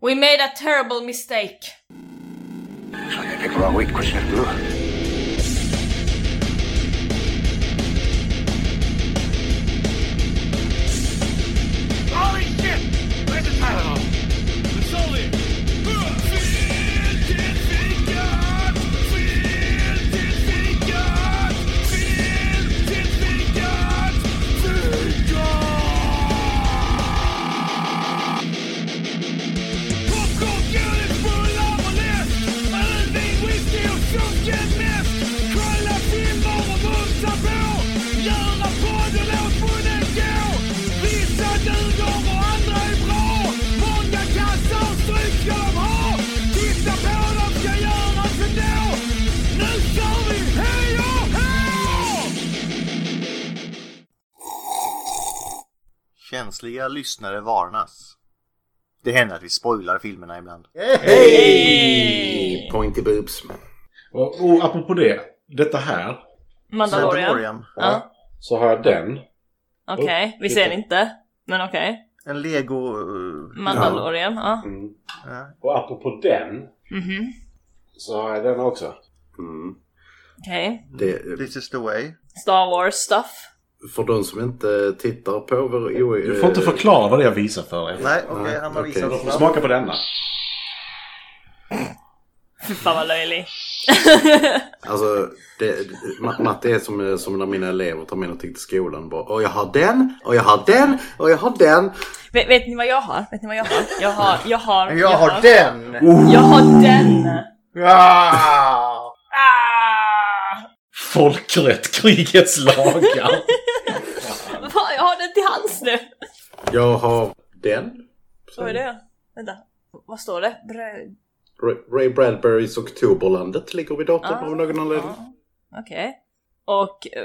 We made a terrible mistake. Sonia fick vara vid kusten nu. Holy shit! Where's the Tylenol? It's only. Göra podden åt munnen gå Vissa duger och andra är bra Många kassar stryk ska de ha Titta på dem ska göras ändå Nu kör vi! Hej och hå! Känsliga lyssnare varnas. Det händer att vi spoilar filmerna ibland. Hej! Pointy boobs. Och, och apropå det, detta här, Mandalorian. Mandalorian. Oh, Ja. så har jag den. Okej, vi ser den inte. Men okej. En lego... eh, Mandalorian, ja. Och apropå den, Mhm. så har jag den också. Mm. Okej. Det, This is the way. Star Wars stuff. för de som inte tittar på E- vår... Jo, Du får inte förklara vad det jag visar för er. Nej, okej, han har okej. visat De får oss. smaka på denna. Fy fan vad löjlig. Alltså, det, Ma- Matte är som, som när mina elever tar med någonting till skolan. Bara, och jag har den, och jag har den, och jag har den. Vet, vet ni vad jag har? Vet ni vad jag har? Jag har, jag har, Jag har den! Jag har den! Ja! Ah! Folkrätt, krigets lagar. Vad fan, Jag har den till hands nu! Jag har den. Vad är det? Vänta. Vad står det? Brö... Ray- Ray Bradburys Oktoberlandet ligger vid datorn Ah, av någon anledning. ja. Okej. Och eh,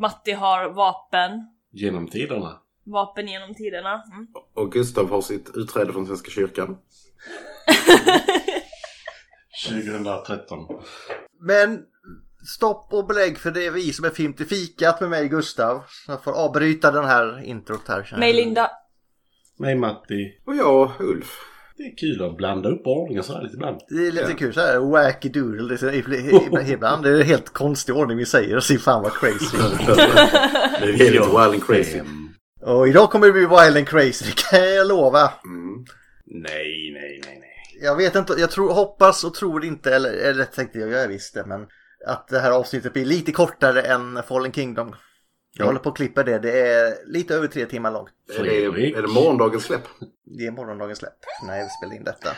Matti har vapen. Genom tiderna. Vapen genom tiderna. Mm. Och Gustav har sitt utträde från Svenska kyrkan. 2013. Men stopp och belägg för det är vi som är film till fikat med mig Gustav. Jag får avbryta den här introt här. känner Mig jag. Linda. Nej Matti, Och jag, Ulf. det är kul att blanda upp ordningen sådär lite ibland. Det är lite kul såhär, wacky doodle det är så- i- i- ibland. Det är en helt konstig ordning vi säger och ser fan vad crazy. Det är helt wild and crazy. Och idag kommer det bli wild and crazy, det kan jag lova. Mm. Nej, nej, nej, nej. Jag vet inte, jag tror, hoppas och tror inte, eller, eller tänkte jag, jag visste men att det här avsnittet blir lite kortare än Fallen Kingdom. Jag håller på att klippa det, det är lite över tre timmar långt. Är, det, Fredrik. är det morgondagens släpp? Det är morgondagens släpp när vi spelar in detta.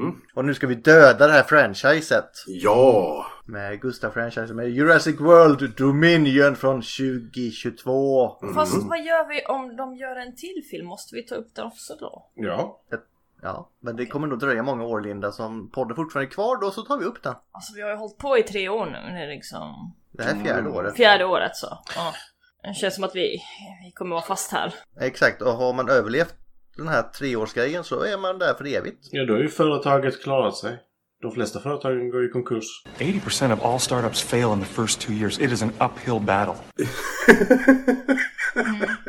Mm. Och nu ska vi döda det här franchiset. Ja! Med Gustav-franchisen med Jurassic World Dominion från 2022. Fast vad gör vi om de gör en till film? Måste vi ta upp den också då? Ja. Ja, men det kommer nog dröja många år Linda, som podden fortfarande är kvar då så tar vi upp den. Alltså vi har ju hållit på i tre år nu. Det är liksom Det här är fjärde året. fjärde året så. Ja. Det känns som att vi, vi kommer vara fast här. Exakt, och har man överlevt den här treårsgrejen så är man där för evigt. Ja, då har ju företaget klarat sig. De flesta företagen går i konkurs. 80% of all startups fail in the first two years. It is an uphill battle.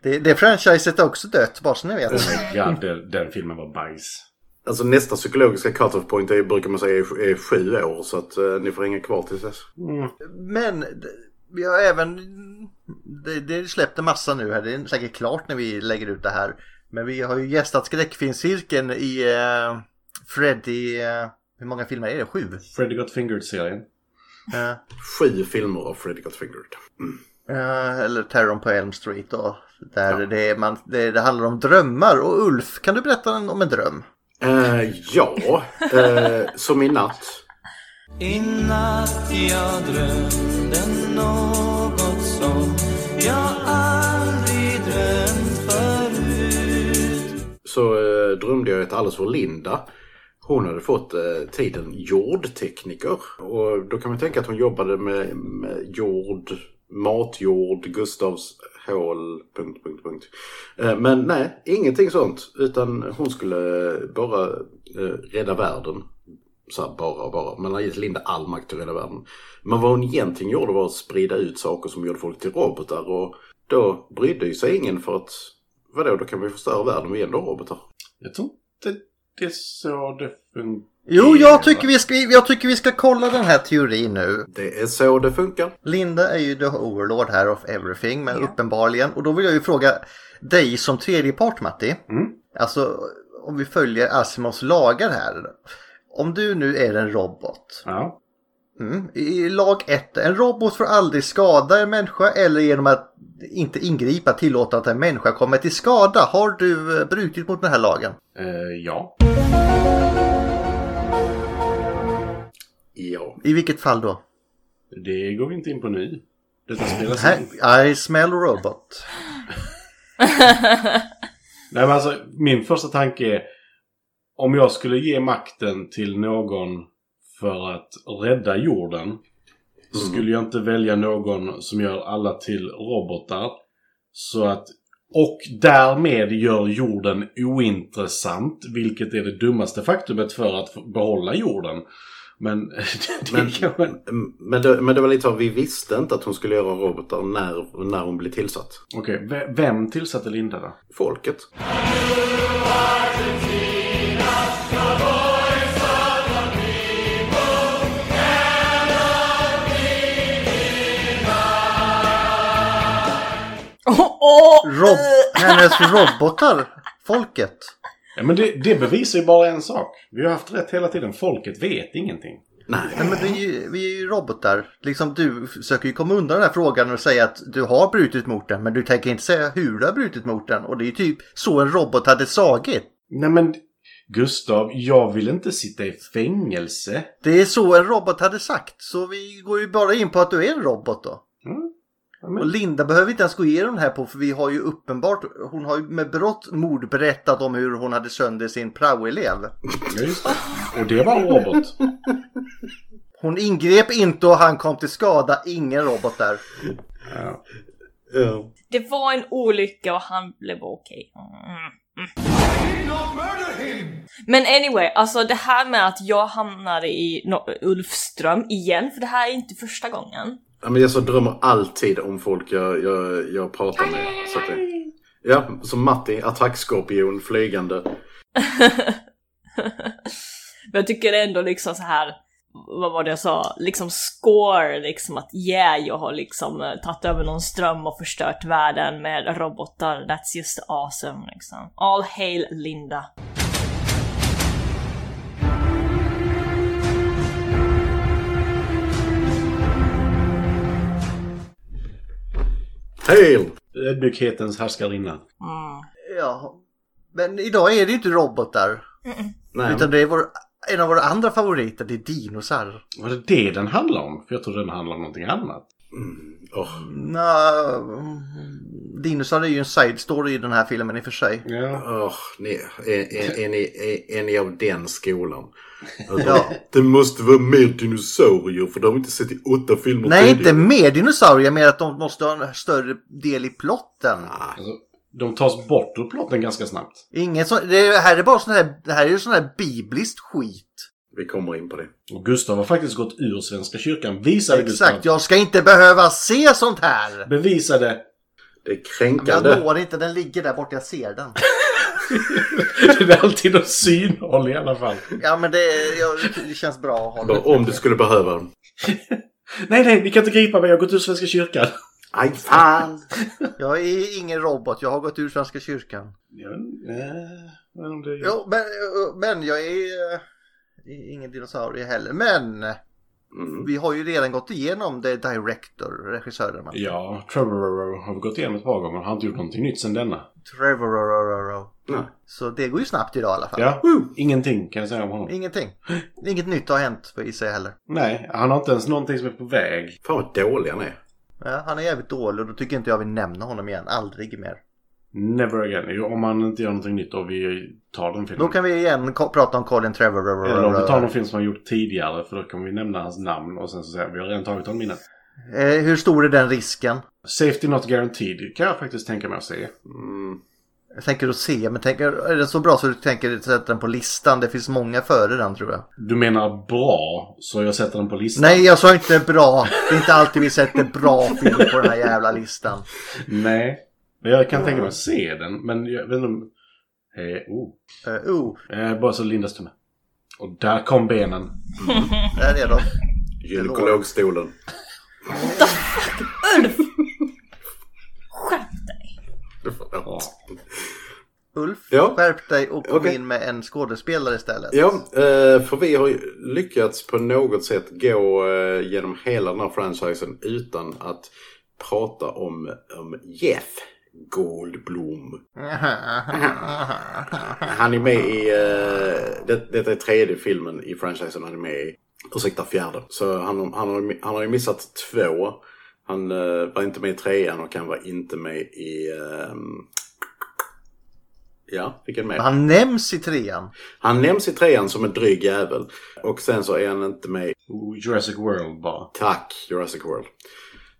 Det, det franchiset är också dött, bara så ni vet. Ja, Mm. den, den filmen var bajs. Alltså nästa psykologiska cut-off point är, brukar man säga är, är sju år så att eh, ni får hänga kvar tills dess. Men d- vi har även... Det, det släppte massa nu här, det är säkert klart när vi lägger ut det här. Men vi har ju gästat skräckfilmscirkeln i eh, Freddy... eh, hur många filmer är det? Sju? Freddy Got Fingered-serien. Eh, Sju filmer av Freddy Got Fingered. eh, eller Terrorn på Elm Street då. Där det, är man, det, det handlar om drömmar. Och Ulf, kan du berätta en- om en dröm? Eh, ja, eh, som i natt. I natt jag drömde något som jag aldrig drömt förut Så eh, drömde jag att Alice var Linda. Hon hade fått eh, titeln jordtekniker. Och då kan man tänka att hon jobbade med, med jord, matjord, Gustavs hål, punkt, punkt, punkt. Eh, men nej, ingenting sånt. Utan hon skulle eh, bara eh, rädda världen. Så här, bara och bara. Man har gett Linda all makt att rädda världen. Men vad hon egentligen gjorde var att sprida ut saker som gjorde folk till robotar. Och då brydde ju sig ingen för att Vadå, då kan vi förstöra världen med ändå robotar. Jag tror inte inte så det fungerar. Jo, jag tycker, vi ska, jag tycker vi ska kolla den här teorin nu. Det är så det funkar. Linda är ju the overlord här of everything, men uppenbarligen. Och då vill jag ju fråga dig som tredjepart, Matti. Alltså, om vi följer Asimovs lagar här. Om du nu är en robot. Ja. Mm. I lag 1. En robot får aldrig skada en människa eller genom att inte ingripa tillåta att en människa kommer till skada. Har du eh, brutit mot den här lagen? Eh, ja. Ja. I vilket fall då? Det går vi inte in på nu. Detta spelas in. Här, I smell robot. Nej, men alltså, min första tanke är om jag skulle ge makten till någon för att rädda jorden skulle jag inte välja någon som gör alla till robotar. Så att, och därmed gör jorden ointressant, vilket är det dummaste faktumet för att få behålla jorden. Men det, det Men- kan man... Mm, Men det, men det var lite så, vi visste inte att hon skulle göra robotar när, när hon blev tillsatt. Okej, ve- vem tillsatte Linda då? Folket. Åh, åh! eh, Rob hennes robotar. Folket. Ja, men det, det bevisar ju bara en sak. Vi har haft rätt hela tiden. Folket vet ingenting. Nej, men det är ju, vi är ju robotar. Liksom du försöker ju komma undan den här frågan och säga att du har brutit mot den. Men du tänker inte säga hur du har brutit mot den. Och det är ju typ så en robot hade sagit. Nej men Gustav, jag vill inte sitta i fängelse. Det är så en robot hade sagt. Så vi går ju bara in på att du är en robot då. Mm. Ja, men- Och Linda behöver inte ens gå igenom det här på för vi har ju uppenbart, hon har ju med brott mord berättat om hur hon hade sönder sin praoelev. Ja, just det. Och det var en robot. Hon ingrep inte och han kom till skada, ingen robot där. Ja. Det var en olycka och han blev okej. Mm. Men anyway, alltså det här med att jag hamnade i no- Ulfström igen, för det här är inte första gången. Ja, men jag så drömmer alltid om folk jag, jag, jag pratar med. Så att det, ja, som Matti, attackskorpion, flygande. Men jag tycker ändå liksom så här vad var det jag sa, liksom score, liksom att yeah, jag har liksom eh, tagit över någon ström och förstört världen med robotar, that's just awesome liksom. All hail Linda. Hail! Ödmjukhetens härskarinna. Ja, men idag är det ju inte robotar. Nej, Utan det är vår, en av våra andra favoriter, det är dinosaur. Var det det den handlade om? För jag trodde den handlade om någonting annat. åh, Nå, dinosaur är ju en side story i den här filmen i och för sig. Ja. åh, ni, är, är, är, ni, är, är ni av den skolan? Alltså, Ja. Det måste vara mer dinosaurier för de har vi inte sett i åtta filmer Nej, tidigare. inte mer dinosaurier, mer att de måste ha en större del i plotten. Alltså, de tas bort ur plotten ganska snabbt. Ingen så, det här är bara sån här, det här är ju sån här bibliskt skit. Vi kommer in på det. Och Gustav har faktiskt gått ur Svenska kyrkan. Visade Exakt, Gustav. jag ska inte behöva se sånt här! Bevisade. Det är Jag kränkande. når inte, den ligger där borta, jag ser den. det är alltid något synhåll i alla fall. Ja men det, jag, det känns bra att ha Bara den. Om du skulle behöva dem. Nej, nej, ni kan inte gripa mig. Jag har gått ur Svenska kyrkan. Aj fan! Jag är ingen robot, jag har gått ur Svenska kyrkan. Ja, eh, men om det... Jo, men, men jag är eh, ingen dinosaurie heller. Men Mm. vi har ju redan gått igenom det director, regissören. man. Ja, Trevor har vi gått igenom ett par gånger. Han har inte gjort någonting nytt sedan denna. Trevor. Nej. Så det går ju snabbt idag i alla fall. Ja, ingenting kan jag säga om honom. Ingenting. Inget nytt har hänt för i sig heller. Nej, han har inte ens någonting som är på väg. Fan vad dåliga ni är. Ja, han är jävligt dålig och då tycker inte jag vill nämna honom igen. Aldrig mer. Never again. Jo, Om han inte gör någonting nytt och vi tar den Då filmen. kan vi igen ko- prata om Colin Trevor. Eller om vi tar någon film som han gjort tidigare för då kommer vi nämna hans namn och sen så säger vi, vi har redan tagit honom innan. Eh, Hur stor är den risken? Safety Not Guaranteed kan jag faktiskt tänka mig att se. Mm. Jag tänker att se, men tänker, är den så bra så du tänker sätta den på listan? Det finns många före den tror jag. Du menar bra, så jag sätter den på listan? Nej, jag sa inte bra. Det är inte alltid vi sätter bra film på den här jävla listan. Nej. Men jag kan tänka mig att se den, men jag vet inte om... Eh, oh. Eh, oh, eh, bara så Lindas tumme. Och där kom benen. där är de. Gynekologstolen. Ulf! Skärp dig! Ja. Ulf, Ja. skärp dig och kom Okej. in med en skådespelare istället. Ja, eh, för vi har ju lyckats på något sätt gå eh, genom hela den här franchisen utan att prata om, om Jeff Goldblum. Han är med i... eh, det, detta är tredje filmen i franchisen han är med i. Ursäkta, fjärde. Så han, han, har, han har ju missat två. Han eh, var inte med i trean och han var inte med i... ehm, ja, vilken mer? Han nämns i trean. Han nämns i trean som en dryg jävel. Och sen så är han inte med i Oh, Jurassic World bara. Tack, Jurassic World.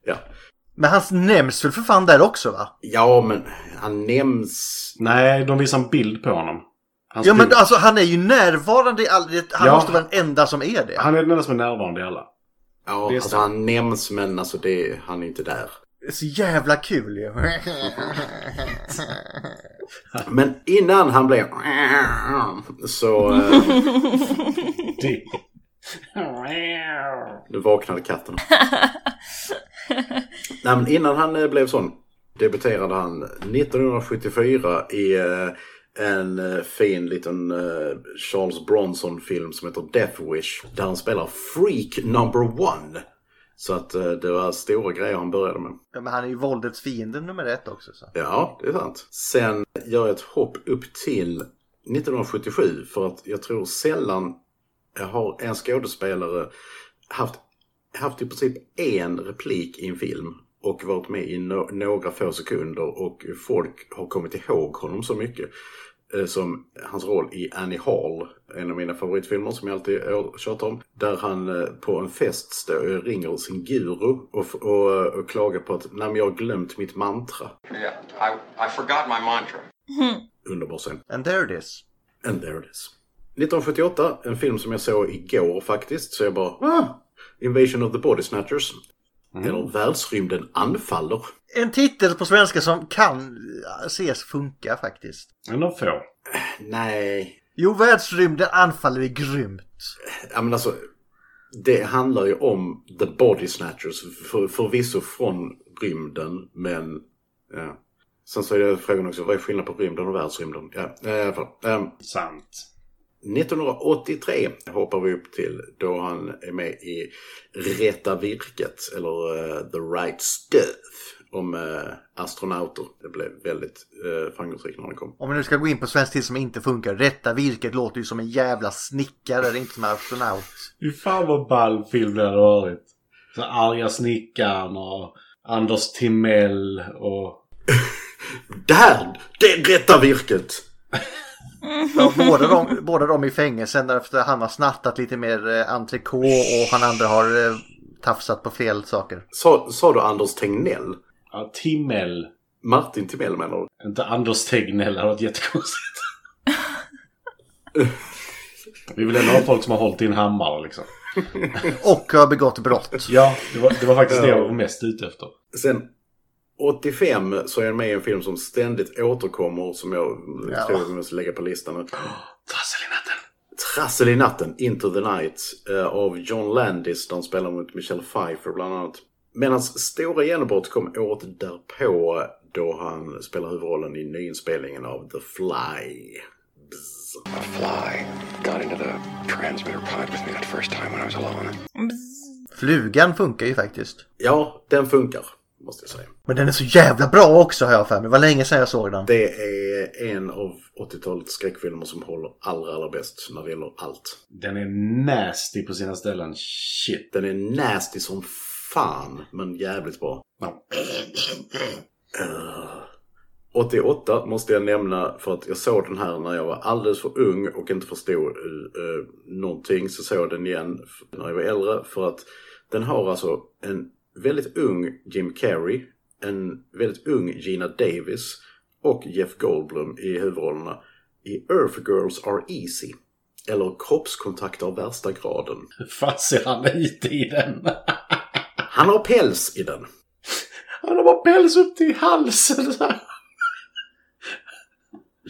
Ja, Men han nämns väl för fan där också va? ja men han nämns... Nej, de visar en bild på honom. Hans Ja men bild. alltså han är ju närvarande i all... det- Han Ja. måste vara den enda som är det. Han är den enda som är närvarande i alla. Ja, Det är alltså sant. han nämns men alltså det, han är inte där. Det är så jävla kul ju. Men innan han blev... Så... Eh, Det. Nu vaknade katten. Nej, men innan han eh, blev sån debuterade han 1974 i eh, en eh, fin liten eh, Charles Bronson-film som heter Death Wish. Där han spelar Freak Number One. Så att eh, det var stora grejer han började med. ja, men han är ju våldets fiende nummer ett också. Så. Ja, det är sant. Sen gör jag ett hopp upp till 1977 för att jag tror sällan har en skådespelare haft, haft i princip en replik i en film och varit med i no- några få sekunder och folk har kommit ihåg honom så mycket. eh, Som hans roll i Annie Hall, en av mina favoritfilmer som jag alltid å- tjatar om. Där han eh, på en fest stå, ringer sin guru och, f- och, eh, och klagar på att Nej, men jag har glömt mitt mantra. Yeah, I, I forgot my mantra. Underbar scen. And there it is. And there it is. 1978, en film som jag såg igår faktiskt, så jag bara ah, Invasion of the Body Snatchers. Eller Världsrymden anfaller. En titel på svenska som kan eh, ses funka faktiskt. Men de får. Nej, Jo, världsrymden anfaller är grymt. ja men alltså. Det handlar ju om The Body Snatchers, för, förvisso från rymden, men... Ja. Sen så är det frågan också, vad är skillnaden på rymden och världsrymden? Ja, i alla fall. Ehm, Sant. 1983 hoppar vi upp till då han är med i Rätta virket eller eh, The Right Stuff om eh, astronauter. Det blev väldigt uh, framgångsrikt när den kom. Om vi nu ska gå in på svensk titel som inte funkar. Rätta virket låter ju som en jävla snickare, det är inte som en astronaut. Fy fan vad ball film det hade varit. Så arga snickaren och Anders Timell och... Där! Det är Rätta virket! Ja, båda, de, båda de i fängelsen därför att han har snattat lite mer eh, entrecote och han andra har eh, tafsat på fel saker. Sa, sa du Anders Tegnell? Ja, Timmel. Martin Timell menar du? Inte Anders Tegnell, det hade varit jättekonstigt. Vi vill ändå ha folk som har hållit i en hammare liksom. Och har begått brott. Ja, det var, det var faktiskt det jag var mest ute efter. Sen 85 så är han med i en film som ständigt återkommer som jag Ja. tror vi måste lägga på listan nu. Trassel i natten. Trassel i natten, Into the Night, eh, av John Landis där han spelar mot Michelle Pfeiffer bland annat. Men hans stora genombrott kom året därpå då han spelar huvudrollen i nyinspelningen av The Fly. Bzz. A fly got into the transmitter pod with me that first time when I was alone. Flugan funkar ju faktiskt. Ja, den funkar, måste jag säga. Men den är så jävla bra också har jag för mig. Det var länge sedan jag såg den. Det är en av 80-talets skräckfilmer som håller allra, allra bäst när det gäller allt. Den är nasty på sina ställen. Shit. Den är nasty som fan, men jävligt bra. Ja. 88 Eh, måste jag nämna för att jag såg den här när jag var alldeles för ung och inte förstod uh, någonting. Så såg jag den igen f- när jag var äldre för att den har alltså en väldigt ung Jim Carrey, en väldigt ung Gina Davis och Jeff Goldblum i huvudrollerna i Earth Girls Are Easy. Eller Kroppskontakt av värsta graden. Hur fan ser han ut i den? Han har päls i den. Han har bara päls upp till halsen. så här.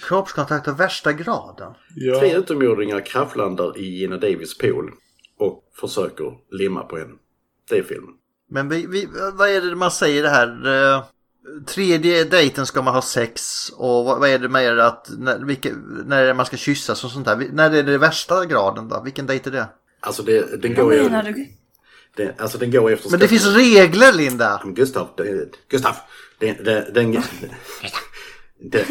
Kroppskontakt av värsta graden. Tre Ja. utomjordingar kraschlandar i Gina Davis pool och försöker limma på henne. Det är filmen. Men vi, vi, vad är det man säger det här? eh, Tredje dejten ska man ha sex och vad, vad är det med det att när, vilka, när är det man ska kyssas och sånt där? Vi- När är det värsta graden då? Vilken dejt är det? Alltså, det, den, Vad går ju, menar du? den, alltså den går efter... Men det finns regler Linda! Gustav, det, Gustav! Den, den, den, det,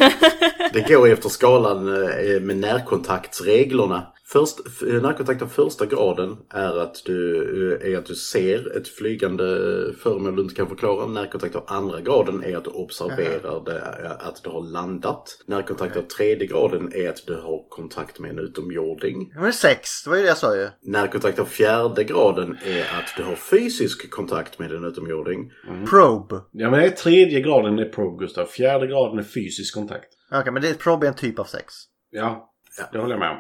det går efter skalan eh, med närkontaktsreglerna. Först, f- närkontakt av första graden är att, du, eh, är att du ser ett flygande föremål du inte kan förklara. Närkontakt av andra graden är att du observerar det, eh, att det har landat. Närkontakt av tredje graden är att du har kontakt med en utomjording. Ja, Men sex, det var ju det jag sa ju. Närkontakt av fjärde graden är att du har fysisk kontakt med en utomjording. Probe. ja, men det är tredje graden är probe, Gustav. Fjärde graden är fysisk kontakt. Okej, men det, probe är en typ av sex. Ja, det håller jag med om.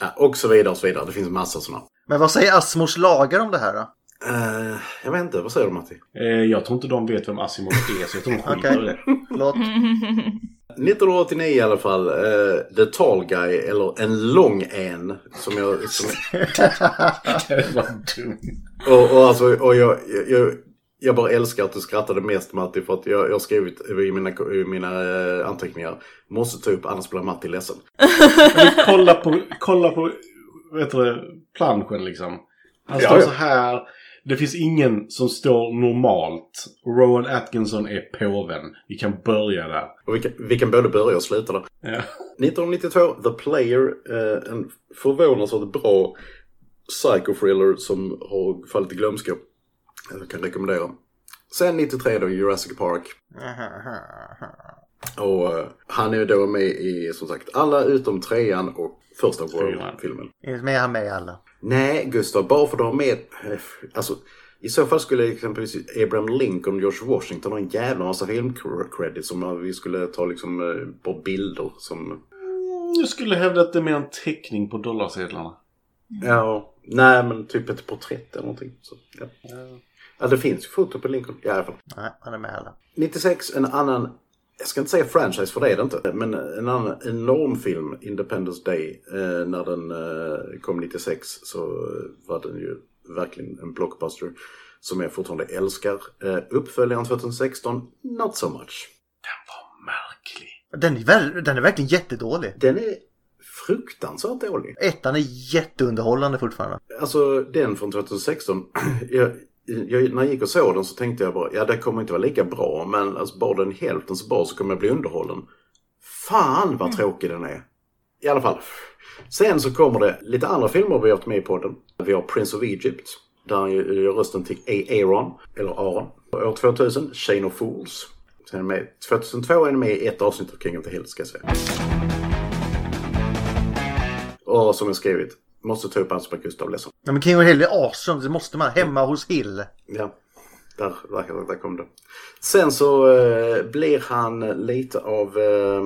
Ja, och så vidare och så vidare. Det finns massa sådana. Men vad säger Asmos lagar om det här då? Eh, jag vet inte, vad säger du Matti? Eh, jag tror inte de vet vem Asimov är, så jag tror de skiter Okej. i det. Förlåt. 1989 i alla fall, eh, The Tall Guy, eller En Lång En, som jag... Som, Det var dumt. och, och, alltså, och jag, jag- jag, jag bara älskar att du skrattade mest Matti, för att jag, jag har skrivit i mina, i mina eh, anteckningar, måste ta upp annars blir Matti ledsen. kolla på, kolla på vet du, planschen liksom. Han Ja, står ja. så här. Det finns ingen som står normalt. Rowan Atkinson är påven. Vi kan börja där. Och vi kan, vi kan både börja och sluta där. Ja. 1992, The Player, eh, en förvånansvärt bra psychothriller som har fallit i glömska. Jag kan rekommendera. Sen 93 då, Jurassic Park. Och eh, han är ju då med i, som sagt, alla utom trean och första Fyran. World-filmen. Inte med han med alla. Nej, Gustav, bara för att du har med... eh, Alltså, i så fall skulle exempelvis Abraham Lincoln och George Washington ha en jävla massa filmcredits om vi skulle ta liksom eh, bara bilder som Jag skulle hävda att det är mer en teckning på dollarsedlarna. Ja, nej men typ ett porträtt eller någonting. Så, ja. ja, det finns ju foto på Lincoln i alla fall. Nej, han är med alla. 96, en annan, jag ska inte säga franchise för det är det inte, men en annan enorm film, Independence Day, eh, när den eh, kom 96 så eh, var den ju verkligen en blockbuster som jag fortfarande älskar. Eh, uppföljaren 2016, not so much. Märklig. Den är, väl, den är verkligen jättedålig. Den är fruktansvärt dålig. Ettan är jätteunderhållande fortfarande. Alltså den från 2016. jag, jag, när jag gick och såg den så tänkte jag bara, ja det kommer inte vara lika bra. Men alltså, bara den är hälften så bra så kommer jag bli underhållen. Fan vad tråkig den är. I alla fall. Sen så kommer det lite andra filmer vi har haft med i podden. Vi har Prince of Egypt. Där han ju- gör rösten till A- Aaron, eller Aron. År 2000, Chain of Fools. Sen är den med, 2002 är den med i ett avsnitt av King of the Hill ska jag säga. Och som jag skrivit, måste ta upp hans på Gustav Lesson. Ja, men King of the Hill är awesome, det måste man. Hemma hos Hill. Ja, där, där, där kom det. Sen så eh, blir han lite av... Eh,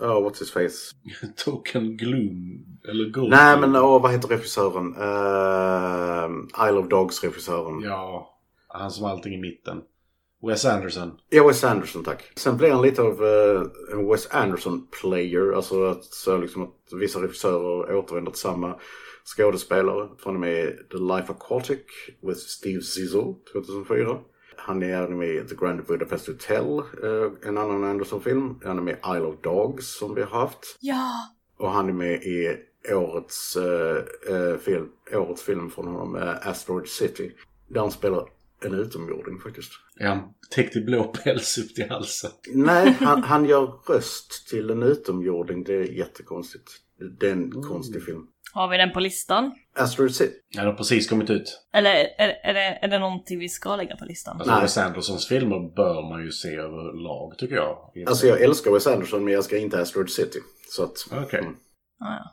oh, what's his face? Token Gloom. Eller Gold. Nej, men åh, vad heter regissören? Eh, Isle of Dogs-regissören. Ja. Han som har allting i mitten. Wes Anderson. Ja, Wes Anderson tack. Sen blir han lite av eh, en Wes Anderson-player. Alltså att, så liksom att vissa regissörer återvänder till samma skådespelare. Från och med The Life Aquatic with Steve Zissou 2004. Han är även med i The Grand Budapest Hotel, eh, en annan Anderson-film. Han är med i Isle of Dogs som vi har haft. Ja, Och han är med i årets, eh, eh, film, årets film från honom, eh, Asteroid City. Där han spelar en utomjording faktiskt. Är han täckt i blå päls upp till halsen? Nej, han, han gör röst till en utomjording. Det är jättekonstigt. Det är en konstig film. har vi den på listan? Asteroid City. Han har precis kommit ut. Eller är, är, det, är det någonting vi ska lägga på listan? Alltså, Nej. Wes Andersons filmer bör man ju se överlag, tycker jag. Alltså jag älskar Wes Anderson men jag ska inte Asteroid City. Så att... Okej. Ah, ja.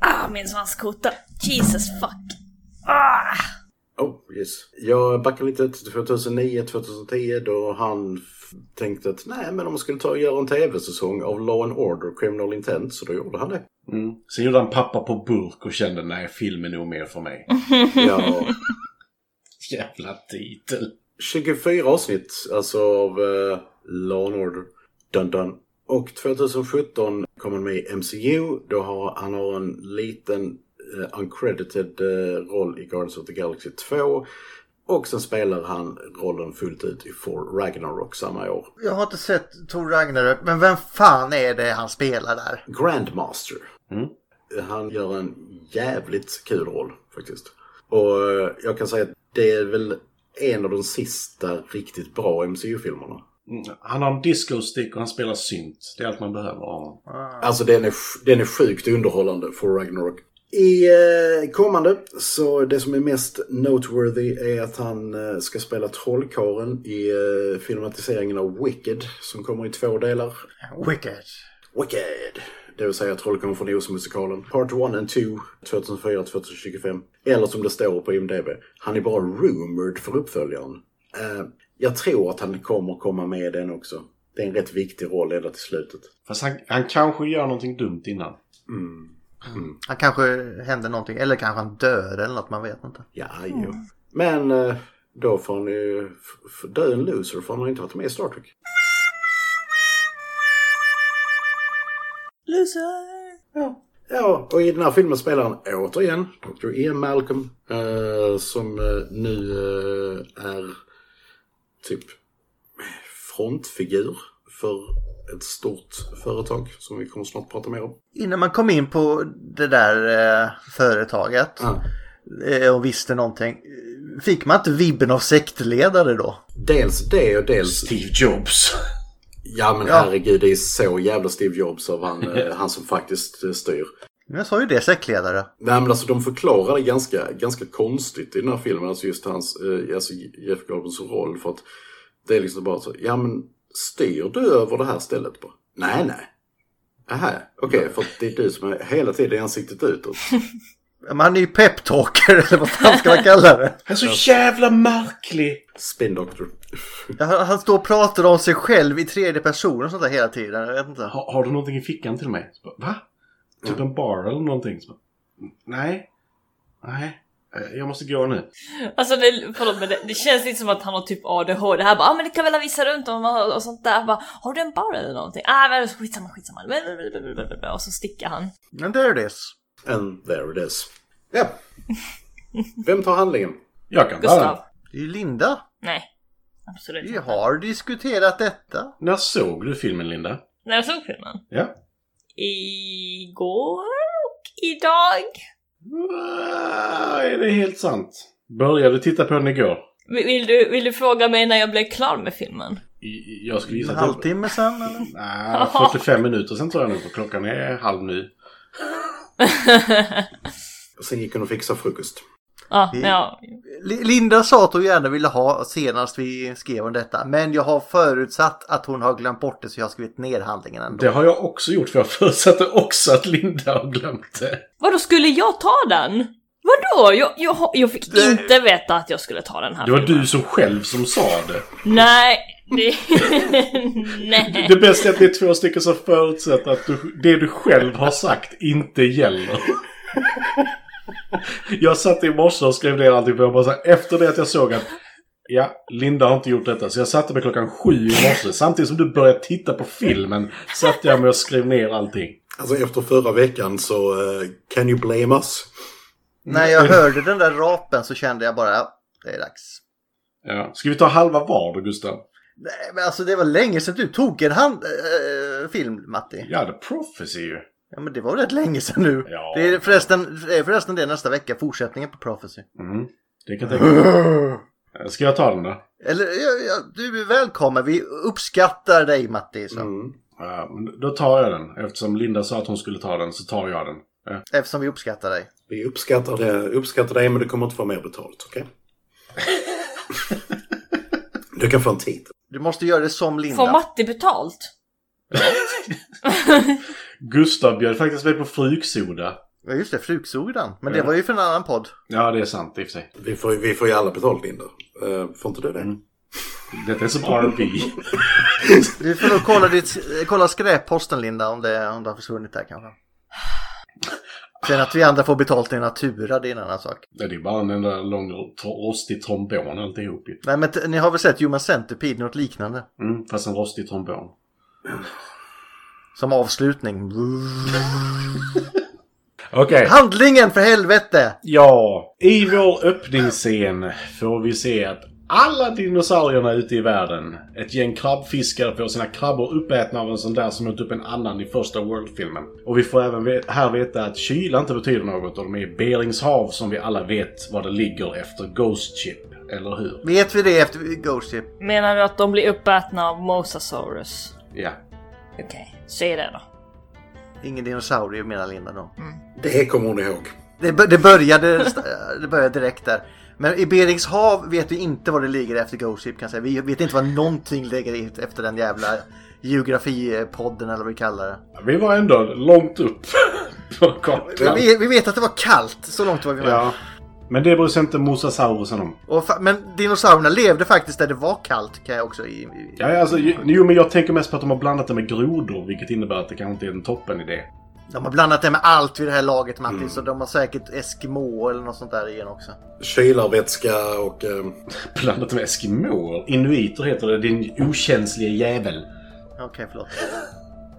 ah min svanskota. Jesus fuck. Ah. Oh, yes. Jag backar lite till 2009, 2010 då han f- tänkte att nej, men om man skulle ta och göra en tv-säsong av Law and Order Criminal Intent så då gjorde han det. Mm. Sen Mm. gjorde han pappa på burk och kände nej, filmen är nog mer för mig. Ja, Jävla titel. 24 avsnitt alltså av eh, Law and Order. Dun, dun. Och 2017 kom han med i MCU. Då har han har en liten eh, uncredited eh, roll i Guardians of the Galaxy 2. Och sen spelar han rollen fullt ut i For Ragnarok samma år. Jag har inte sett Tor Ragnarök, men vem fan är det han spelar där? Grandmaster. Mm. Han gör en jävligt kul roll faktiskt. Och eh, jag kan säga att det är väl en av de sista riktigt bra MCU-filmerna. Mm, Han har en disco-stick och han spelar synt. Det är allt man behöver av honom. Ah, Alltså den är, den är sjukt underhållande för Ragnarok. I eh, kommande, så det som är mest noteworthy är att han eh, ska spela trollkaren i eh, filmatiseringen av Wicked som kommer i två delar. Wicked. Wicked! Det vill säga Trollkarlen från Oz-musikalen. Part 1 and 2, 2004-2025. Eller som det står på IMDB, han är bara rumored för uppföljaren. Eh, jag tror att han kommer komma med i den också. Det är en rätt viktig roll ända till slutet. Fast han, han kanske gör någonting dumt innan. Mm. Han kanske händer någonting, eller kanske han dör eller något, man vet inte. Ja, jo. Men eh, då får han ju f- f- dö en loser för han har inte varit med i Star Trek. Loser! Ja. Ja, och i den här filmen spelar han återigen Dr. Ian Malcolm. Eh, som eh, nu eh, är typ frontfigur för ett stort företag som vi kommer snart prata mer om. Innan man kom in på det där eh, företaget Ja. eh, och visste någonting, eh, fick man inte vibben av sektledare då? Dels det och dels... Steve Jobs. Ja men Ja. herregud, det är så jävla Steve Jobs av han, eh, han som faktiskt eh, styr. Men Jag sa ju det, sektledare. Nej men alltså de förklarar det ganska, ganska konstigt i den här filmen, alltså just hans, eh, alltså Jeff Goldblums roll för att det är liksom bara så, ja men styr du över det här stället bara? Nej nej. Aha, okej för att det är du som är hela tiden i ansiktet utåt. Man är ju peptalker eller vad fan ska man kalla det? Han är så jävla märklig! Spin doctor. Ja, Han han står och pratar om sig själv i tredje person och sånt där hela tiden. Jag vet inte. Har, har du någonting i fickan till mig? Så bara, Va? Typ en bar eller någonting? Så bara, Nej. Nej. Eh, Jag måste gå nu. Alltså det, förlåt, men det, det känns lite som att han har typ ADHD. Det här bara ah, men det kan väl visa runt om och, och sånt där. Bara, har du en bar eller någonting? Ah men skitsamma skitsamma. Blablabla. Och så sticker han. Men there it is. And there it is. Ja. Vem tar handlingen? Jag kan Gustav. bara... Det är ju Linda. Nej. Absolut Vi inte. har diskuterat detta. När såg du filmen, Linda? När jag såg filmen? Ja. Igår och idag. Ah, Är det helt sant? Började titta på den igår? Vill- Vill du, vill du fråga mig när jag blev klar med filmen? I- i- Jag skulle En gissa att... jag- halvtimme sen eller? Nej, 45 minuter sen tror jag nog. för Klockan är halv nu. Sen gick hon och fixade frukost. ah, Mm. Vi- ja, Li- Linda sa att hon gärna ville ha senast vi skrev om detta. Men jag har förutsatt att hon har glömt bort det så jag har skrivit ner handlingen ändå. Det har jag också gjort för jag förutsatte också att Linda har glömt det. Vadå, skulle jag ta den? Vadå? Jag, jag, har- jag fick inte veta att jag skulle ta den här Det var filmen. du som själv som sa det. Nej, det... Nej. Det bästa är att det är två stycken som förutsätter att du, det du själv har sagt inte gäller. Jag satt i morse och skrev ner allting för jag bara så här, efter det att jag såg att ja, Linda har inte gjort detta. Så jag satte mig klockan sju i morse. Samtidigt som du började titta på filmen satt jag mig och skrev ner allting. Alltså efter förra veckan så eh, can you blame us? När Mm. jag hörde den där rapen så kände jag bara, ja, det är dags. Ja. Ska vi ta halva var då, Gustav? Nej, men alltså det var länge sedan du tog en hand, eh, film, Matti. Ja, The Prophecy ju. Ja, men det var rätt länge sedan nu. Ja. Det är förresten, det är förresten det nästa vecka, fortsättningen på Prophecy. Mm. Det kan jag tänka mig. Ska jag ta den då? Eller, ja, ja, du är välkommen. Vi uppskattar dig, Matti. Så. Mm. Ja, men då tar jag den. Eftersom Linda sa att hon skulle ta den så tar jag den. Ja. Eftersom vi uppskattar dig. Vi uppskattar, det, uppskattar dig men du kommer inte få mer betalt, okej? du kan få en titel. Du måste göra det som Linda. Får Matti betalt? Gustav bjöd faktiskt mig på fruksoda. Ja, just det, Fruksodan. Men Ja. det var ju för en annan podd. Ja, det är sant i och för sig. Vi får, vi får ju alla betalt Linda. Eh, får inte du det? Detta är som RV. Du får nog kolla, ditt, kolla skräpposten Linda om det, om det har försvunnit där kanske. Sen att vi andra får betalt i natura, det är en annan sak. Nej, Det är bara en enda lång tro- rostig trombon alltihop ju. Nej men t- ni har väl sett Human Centipede, något liknande? Mm, fast en rostig trombon. Som avslutning. Okej. Handlingen för helvete! Ja, i vår öppningsscen får vi se att alla dinosaurierna ute i världen, ett gäng krabbfiskare får sina krabbor uppätna av en sån där som åt upp en annan i första World-filmen. Och vi får även ve- här veta att kyla inte betyder något och de är i Berings hav som vi alla vet var det ligger efter Ghost Ship, eller hur? Vet vi det efter Ghost Ship? Menar du att de blir uppätna av Mosasaurus? Ja. Okej, säg det då. Ingen dinosaurie menar Linda då. Det kommer hon ihåg. Det, bör- det, började, det började direkt där. Men i Berings hav vet vi inte vad det ligger efter Ghost Ship kan jag säga. Vi vet inte vad någonting ligger efter den jävla geografipodden eller vad vi kallar det. Vi var ändå långt upp på kartan. Men Vi, vi vet att det var kallt, så långt var vi med. Ja. Men det bryr sig inte mosasaurusen om. Och fa- men dinosaurierna levde faktiskt där det var kallt kan jag också... I, i, Ja, ja, alltså, ju- jo, men jag tänker mest på att de har blandat det med grodor, vilket innebär att det kanske inte är en toppen idé. De har blandat det med allt vid det här laget Matti, Mm. så de har säkert Eskimo eller något sånt där igen också. Kylarvätska och... ehm, Blandat med eskimåer. Inuiter heter det, din okänsliga jävel. Okej, förlåt.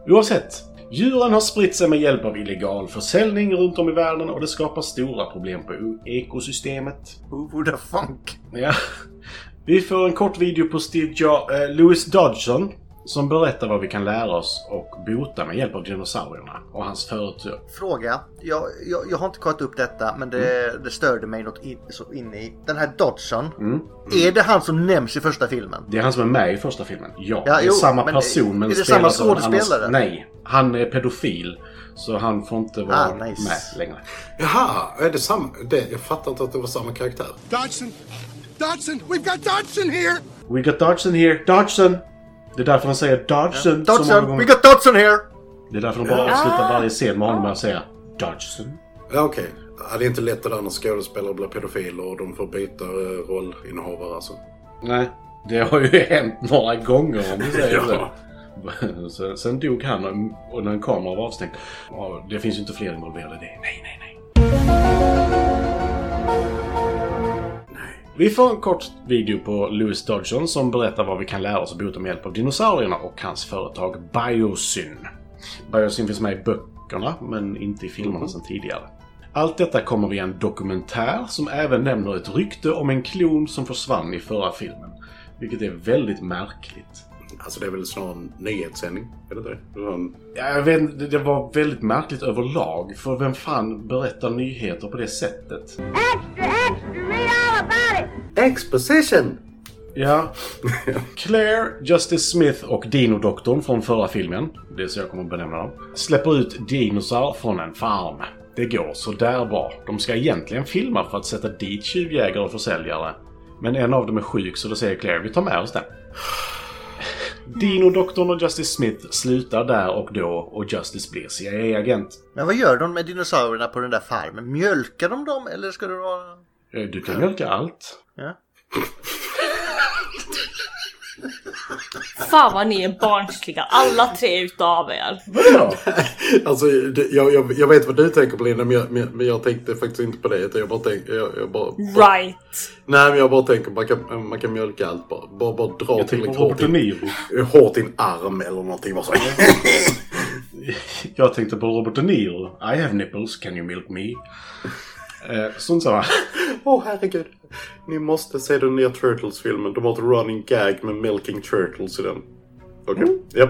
Oavsett. Djuren har spritt sig med hjälp av illegal försäljning runt om i världen och det skapar stora problem på o- ekosystemet. Who the funk? Ja. Vi får en kort video på Steve jo- eh, Louis Dodgson som berättar vad vi kan lära oss och bota med hjälp av dinosaurierna och hans företag. Fråga. Jag, jag, jag har inte kollat upp detta, men det, Mm. det störde mig något in, så in i. Den här Dodson. Mm. Är det han som nämns i första filmen? Det är han som är med i första filmen. Ja, Ja, det är jo, samma men person men är det spelas samma av en annan- skådespelare? Nej, han är pedofil. Så han får inte vara Ah, nice. med längre. Jaha, är det samma? Det, jag fattar inte att det var samma karaktär. Dodson! Dodson! We've got Dodson here! We got Dodgson here. Dodgson! Det är därför de säger Dodgson så många Dodson! gånger. We got Dodson here! Det är därför de bara avslutar varje scen med honom med att säga Dodgson. Ja, okej. Ja, Det är inte lätt det där när skådespelare blir pedofiler och de får byta eh, rollinnehavare alltså. Nej, det har ju hänt några gånger om du säger Ja. så. Sen- Sen dog han och- och när en kamera var avstängd. Ja, Det finns ju inte fler involverade i det. Nej, nej, nej. Vi får en kort video på Louis Dodgson som berättar vad vi kan lära oss att bota med hjälp av dinosaurierna och hans företag Biosyn. Biosyn finns med i böckerna, men inte i filmerna sedan tidigare. Allt detta kommer via en dokumentär som även nämner ett rykte om en klon som försvann i förra filmen. Vilket är väldigt märkligt. Alltså det är väl snarare en nyhetssändning? Är det inte det? Mm. Ja, Jag vet, inte, det det var väldigt märkligt överlag, för vem fan berättar nyheter på det sättet? Exposition! Ja. Claire, Justice Smith och Dinodoktorn från förra filmen, det är så jag kommer att benämna dem, släpper ut dinosar från en farm. Det går så där bra. De ska egentligen filma för att sätta dit tjuvjägare och försäljare. Men en av dem är sjuk så då säger Claire vi tar med oss den. Dinodoktorn och Justice Smith slutar där och då och Justice blir CIA-agent. Men vad gör de med dinosaurierna på den där farmen? Mjölkar de dem eller ska det vara... Eh, Du kan mjölka allt. Ja. Fan vad ni är barnsliga, alla tre utav er. Vadå? Alltså, det, jag, jag, jag vet vad du tänker på Linda, men jag, men, men jag tänkte faktiskt inte på det. Utan jag bara tänker... Jag, jag bara, Right. Nej, men jag bara tänker man kan, man kan mjölka allt bara. Bara, bara dra Jag tänker tillräckligt på Robert hårt De i Niro. hårt i en arm eller någonting. Bara så. Jag tänkte på Robert De Niro. I have nipples, can you milk me? Eh, sånt samma. Åh herregud. Ni måste se den nya Turtles-filmen. De har ett running gag med Milking Turtles i den. Okej, japp.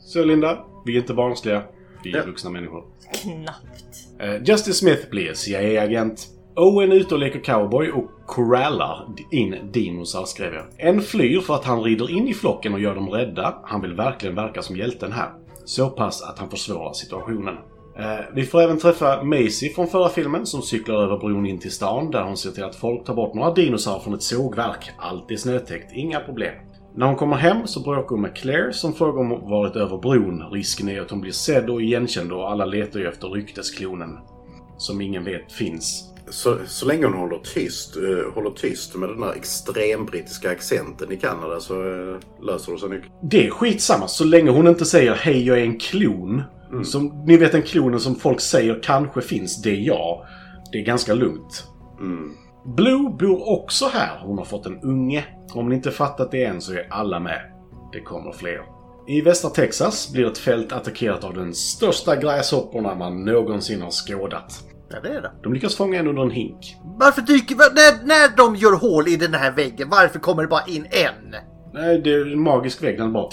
Så Linda, vi är inte barnsliga. Vi är Ja. vuxna människor. Knappt. Eh, Justice Smith blir CIA-agent. Owen är ute och leker cowboy och corrallar in dinosar, skrev jag. En flyr för att han rider in i flocken och gör dem rädda. Han vill verkligen verka som hjälten här. Så pass att han försvårar situationen. Eh, Vi får även träffa Macy från förra filmen som cyklar över bron in till stan där hon ser till att folk tar bort några dinosaurier från ett sågverk. Allt är snötäckt, inga problem. När hon kommer hem så bråkar hon med Claire som frågar om hon varit över bron. Risken är att hon blir sedd och igenkänd och alla letar ju efter ryktesklonen. Som ingen vet finns. Så, så länge hon håller tyst, eh, håller tyst med den där extrembrittiska accenten i Kanada så eh, löser det sig mycket. Det är skitsamma så länge hon inte säger hej jag är en klon. Som, ni vet den klonen som folk säger kanske finns, det är jag. Det är ganska lugnt. Blue bor också här. Hon har fått en unge. Om ni inte fattat det än så är alla med. Det kommer fler. I västra Texas blir ett fält attackerat av den största gräshopporna man någonsin har skådat. Ja, det är det. De lyckas fånga en under en hink. Varför dyker... va- När, när de gör hål i den här väggen, varför kommer det bara in en? Nej, det är en magisk vägg. Den bara...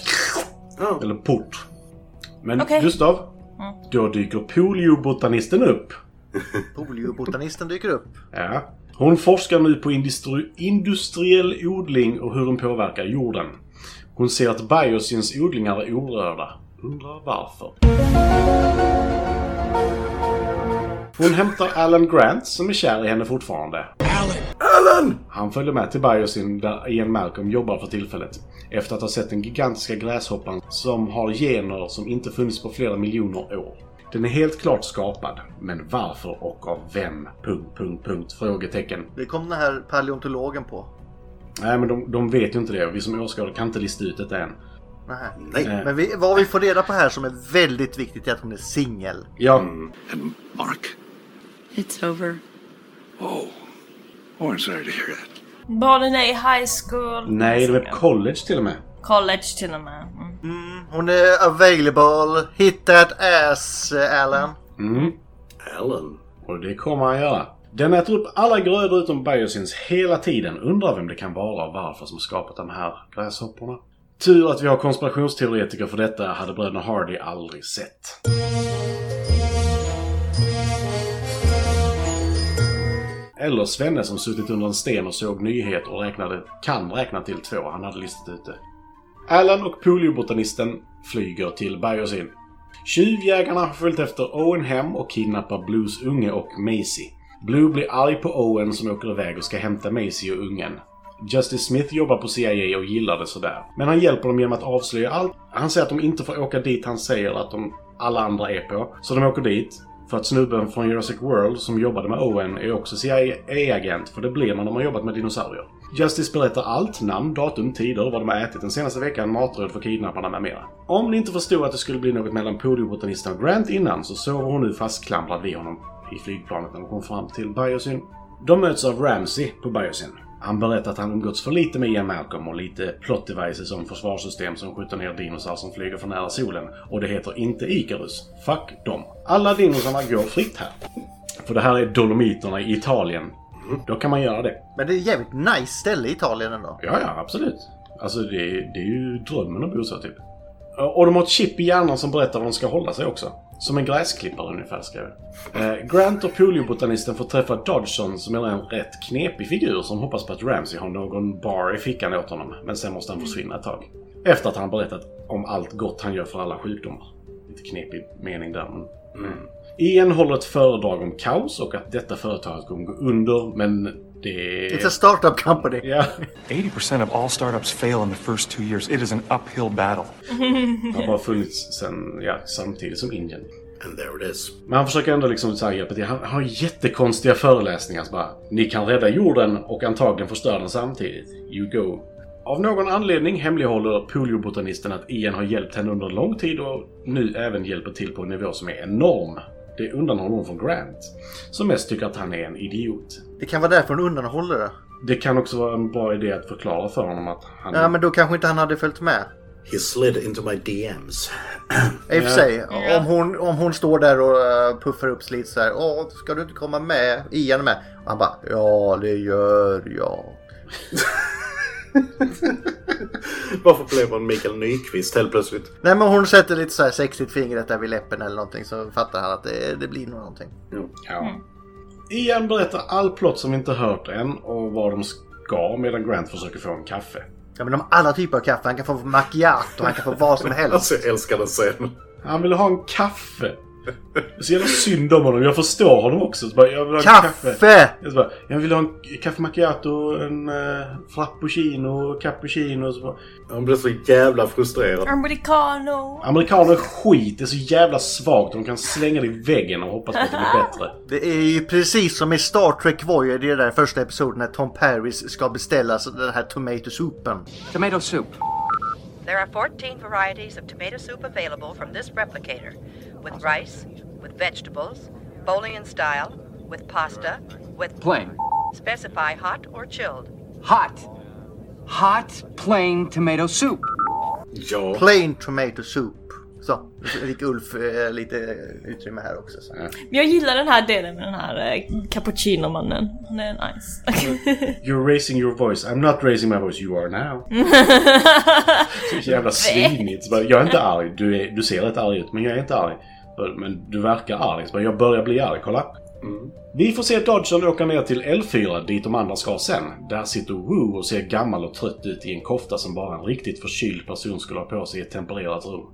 Eller port. Men Okej. Gustav, då dyker poliobotanisten upp. Poliobotanisten dyker upp. Ja. Hon forskar nu på industri- industriell odling och hur den påverkar jorden. Hon ser att biosins odlingar är orörda. Undrar varför. Hon hämtar Alan Grant som är kär i henne fortfarande. Alan! Han följer med till Biosin där Ian Malcolm jobbar för tillfället. Efter att ha sett den gigantiska gräshoppan som har gener som inte funnits på flera miljoner år. Den är helt klart skapad, men varför och av vem? Punkt, punkt, punkt, frågetecken. Det kom den här paleontologen på. Nej, men de, de vet ju inte det och vi som åskådare kan inte lista ut detta än. Nähä. Nej. Men vi, vad vi får reda på här som är väldigt viktigt är att hon är singel. Ja, And Mark? It's over. Oh. Oh, I'm sorry to hear that. Barnen är i high school. nej, de är på college till och med. College till och med. Mm. Hon är available. Hit that ass, eh, Alan. Mm. Alan. Och det kommer han göra. Den äter upp alla grödor utom biosins hela tiden. Undrar vem det kan vara och varför som skapat de här gräshopporna. Tur att vi har konspirationsteoretiker för detta hade bröderna Hardy aldrig sett. Eller Svenne som suttit under en sten och såg nyhet och räknade, kan räkna till två. Han hade listat ut det. Alan och poliobotanisten flyger till Biosin. Tjuvjägarna har följt efter Owen hem och kidnappar Blues unge och Macy. Blue blir arg på Owen som åker iväg och ska hämta Macy och ungen. Justice Smith jobbar på CIA och gillar det sådär. Men han hjälper dem genom att avslöja allt. Han säger att de inte får åka dit han säger att de alla andra är på. Så de åker dit. För att snubben från Jurassic World som jobbade med Owen är också CIA-agent. För det blir man när man jobbat med dinosaurier. Justice berättar allt, namn, datum, tider, vad de har ätit den senaste veckan, matråd för kidnapparna med mera. Om ni inte förstod att det skulle bli något mellan poliobotanisten och Grant innan så sover hon nu fastklamrad vid honom i flygplanet när de kom fram till Biosyn. De möts av Ramsey på Biosyn. Han berättar att han umgåtts för lite med Ian Malcolm och lite plot devices om försvarssystem som skjuter ner dinosaurier som flyger för nära solen. Och det heter inte Icarus. Fuck dem. Alla dinosaurier går fritt här. För det här är Dolomiterna i Italien. Då kan man göra det. Men det är ett jävligt nice ställe i Italien ändå. Ja, ja, absolut. Alltså det, det är ju drömmen att bo så typ. Och de har ett chip i hjärnan som berättar var de ska hålla sig också. Som en gräsklippare ungefär, skrev jag. Eh, Grant och poliobotanisten får träffa Dodgson som är en rätt knepig figur som hoppas på att Ramsey har någon bar i fickan åt honom. Men sen måste han försvinna ett tag. Efter att han berättat om allt gott han gör för alla sjukdomar. Lite knepig mening där, men... Mm. Ian håller ett föredrag om kaos och att detta företaget kommer gå under, men det... It's a startup company. Ja. 80% of all startups fail in the first two years. It is an uphill battle. har bara funnits sen, ja, samtidigt som Indien. And there it is. Men han försöker ändå liksom så här hjälpa till. Han han har jättekonstiga föreläsningar. Så bara, Ni kan rädda jorden och antagligen förstöra den samtidigt. You go. Av någon anledning hemlighåller poliobotanisten att Ian har hjälpt henne under lång tid och nu även hjälper till på en nivå som är enorm. Det undanhåller hon från Grant, som mest tycker att han är en idiot. Det kan vara därför hon undanhåller det. Det kan också vara en bra idé att förklara för honom att han... Ja, men då kanske inte han hade följt med. He slid into my DMs. I och för sig, om hon, om hon står där och eh, puffar upp slit så här. Åh, ska du inte komma med? Ian är med. Och han bara, ja det gör jag. Varför blev han Mikael Nyqvist helt plötsligt? Nej men hon sätter lite så här sexigt fingret där vid läppen eller någonting så fattar han att det, det blir nog någonting. Ja. Ian berättar all plott som vi inte hört än och vad de ska medan Grant försöker få en kaffe. Ja men de har alla typer av kaffe. Han kan få macchiato, han kan få vad som helst. Alltså jag älskar den scenen. Han vill ha en kaffe! Det är Så jävla synd om honom. Jag förstår honom också. Så bara, jag vill ha en Alltså, kaffe! Kaffe! Jag, så bara, jag vill ha en kaffe macchiato, en eh, frappuccino, cappuccino. Så bara, Han blev så jävla frustrerad. Americano. Amerikaner är skit. Det är så jävla svagt. De kan slänga det i väggen och hoppas på att det blir bättre. Det är ju precis som i Star Trek Voyager i den där första episoden när Tom Paris ska beställa så- den här tomatosoupen. Tomato soup. There are 14 varieties of tomato soup available from this replicator with rice, with vegetables, bowling in style, with pasta, with Plain. Specify hot or chilled. Hot. Hot plain tomato soup. Ja. Plain tomato soup. Så, nu fick Ulf eh, lite utrymme här också. Så. Men jag gillar den här delen med den här eh, cappuccino-mannen. Han är nice. You're raising your voice. I'm not raising my voice. You are now. Så jävla svinigt. Så bara, Jag är inte arg. Du, är, du ser rätt arg ut, men jag är inte arg. Bara, Men du verkar arg. Så bara, Jag börjar bli arg. Kolla. Vi får se Dodgen åka ner till L4, dit de andra ska sen. Där sitter Wu och ser gammal och trött ut i en kofta som bara en riktigt förkyld person skulle ha på sig i ett tempererat rum.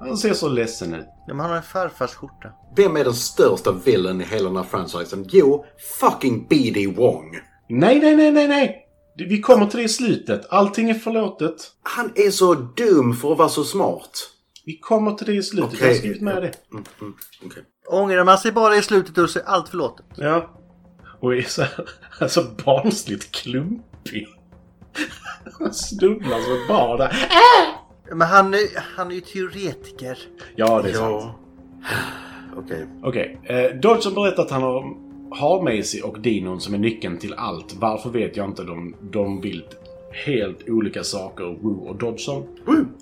Han ser så ledsen ut. Ja, men han har en farfars skjorta. Vem är den största villain i hela den här franchisen? Jo, fucking BD Wong. Nej, nej, nej, nej, nej! Vi kommer till det i slutet. Allting är förlåtet. Han är så dum för att vara så smart. Vi kommer till det i slutet. Okej. Jag har skrivit med det. Mm, mm, okej. Ångrar man sig bara i slutet och så är allt förlåtet. Ja. Och är så här, alltså barnsligt klumpig. Han snubblar som ett barn där. Men han, är- han är ju teoretiker. Ja, det är sant. Ja. Okej. Okej. Eh, Dodson berättar att han har, har Macy och Dinon som är nyckeln till allt. Varför vet jag inte. De, de vill helt olika saker, Wu och Dodson.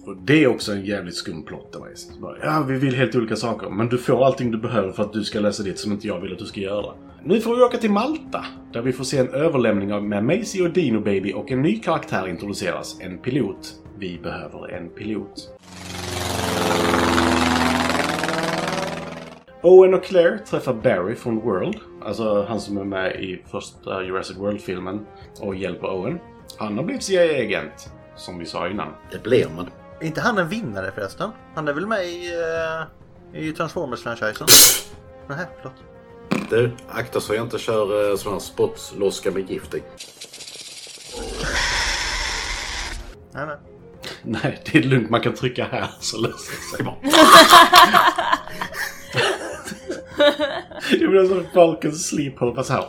Och det är också en jävligt skum plott. där, Macy. Så bara, Ja, vi vill helt olika saker. Men du får allting du behöver för att du ska läsa det som inte jag vill att du ska göra. Nu får vi åka till Malta. Där vi får se en överlämning av med Macy och Dino Baby och en ny karaktär introduceras. En pilot. Vi behöver en pilot. Owen och Claire träffar Barry från World, alltså han som är med i första Jurassic World-filmen och hjälper Owen. Han har blivit CIA-agent, som vi sa innan. Det blir man. Är inte han en vinnare förresten? Han är väl med i, eh, i Transformers-franchisen? Nähä, förlåt. Du, akta så jag inte kör eh, sån här spottloska med gift i. Nej, nej. Nej, det är lugnt. Man kan trycka här så löser det sig bara. det blir som Falcons sleephole, fast här.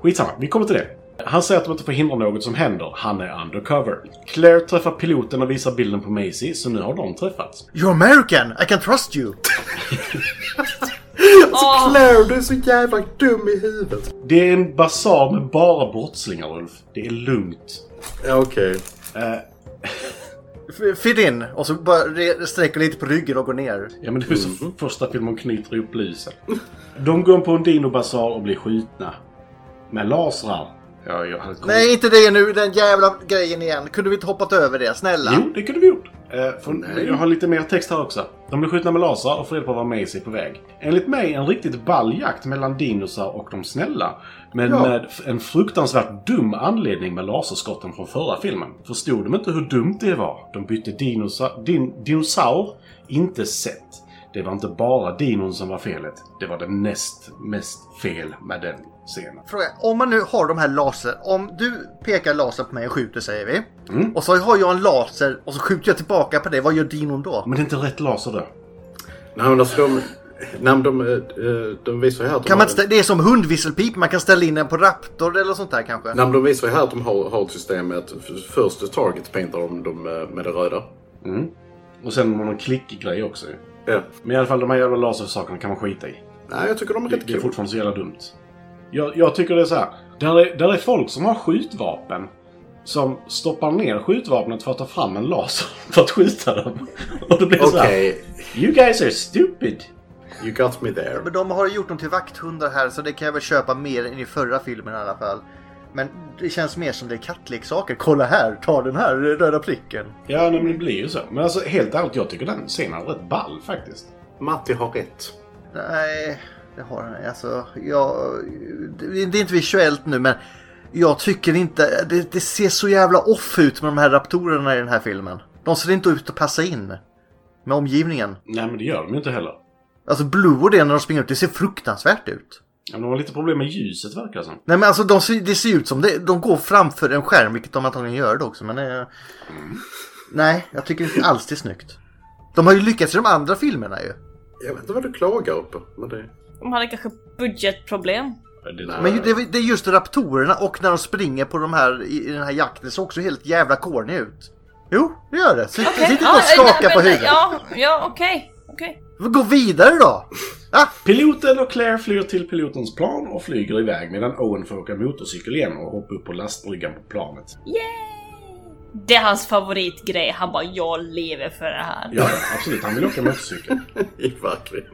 Skitsamma, vi kommer till det. Han säger att de inte får hindra något som händer. Han är undercover. Claire träffar piloten och visar bilden på Macy, så nu har de träffats. You're American! I can trust you! Åh, Claire, Äh, du är så jävla dum i huvudet. Det är en basar med bara brottslingar, Ulf. Det är lugnt. Ja, okej. F- Fit in! Och så bara re- sträcker lite på ryggen och går ner. Ja, men det är ju så första filmen knyter ihop lysen. De går på en dinobasar och blir skjutna. Med lasrar. Ja, jag hade koll. Nej, inte det nu! Den jävla grejen igen! Kunde vi inte hoppat över det? Snälla! Jo, det kunde vi gjort. Eh, för Nej. Jag har lite mer text här också. De blir skjutna med laser och får reda på var Macy är på väg. Enligt mig en riktigt ball jakt mellan dinosar och de snälla. Men Ja. med f- en fruktansvärt dum anledning med laserskotten från förra filmen. Förstod de inte hur dumt det var? De bytte dinosa- din- dinosaur, inte sätt. Det var inte bara dinon som var felet. Det var det näst mest fel med den scenen. Fråga, om man nu har de här laser, om du pekar laser på mig och skjuter säger vi. Och så har jag en laser och så skjuter jag tillbaka på det, vad gör dinon då? Men det är inte rätt laser då. Nej, men alltså de... Nej, men de, eh, de visar ju här att de Kan har- man inte stä- det är som hundvisselpip, man kan ställa in den på raptor eller sånt där kanske. Nej, men de visar ju här att de har, har ett system med att f- först target paintar de, de eh, med det röda. Och sen någon klickgrej också ju. Ja. Men i alla fall de här jävla lasersakerna kan man skita i. Nej, jag tycker de är Det, rätt det är kul. fortfarande så jävla dumt. Jag, jag tycker det är så här. Där är, där är folk som har skjutvapen. Som stoppar ner skjutvapnet för att ta fram en laser för att skjuta dem. Och det blir så här. Okej, You guys are stupid! you got me there. Men de har ju gjort dem till vakthundar här så det kan jag väl köpa mer än i förra filmen i alla fall. Men det känns mer som det är kattleksaker. Kolla här, ta den här röda pricken. Ja, nej, men det blir ju så. Men alltså helt ärligt, jag tycker den scenen är rätt ball faktiskt. Matti har rätt. Nej, det har han alltså, jag, det, det är inte visuellt nu men jag tycker inte, det, det ser så jävla off ut med de här raptorerna i den här filmen. De ser inte ut att passa in med omgivningen. Nej, men det gör de ju inte heller. Alltså Blue och det när de springer ut, det ser fruktansvärt ut. Ja, men de har lite problem med ljuset verkar det som. Nej men alltså de ser, det ser ut som det, de går framför en skärm, vilket de antagligen gör det också men... Eh, nej, jag tycker inte alls det är snyggt. De har ju lyckats i de andra filmerna ju. Jag vet inte vad du klagar på. Men det... de hade kanske budgetproblem. Det, Nej. Men ju- det, det är just raptorerna och när de springer på de här i, i den här jakten ser också helt jävla corny ut. Jo, det gör det. Sitt, Okej. sitt inte Ja, och skaka men- på men- huvudet. Ja, ja okej. okej. Gå vidare då! Piloten och Claire flyr till pilotens plan och flyger iväg medan Owen får åka motorcykel igen och hoppa upp på lastbryggan på planet. Det är hans favoritgrej. Han bara, jag lever för det här. Ja, absolut. Han vill åka motorcykel. Verkligen.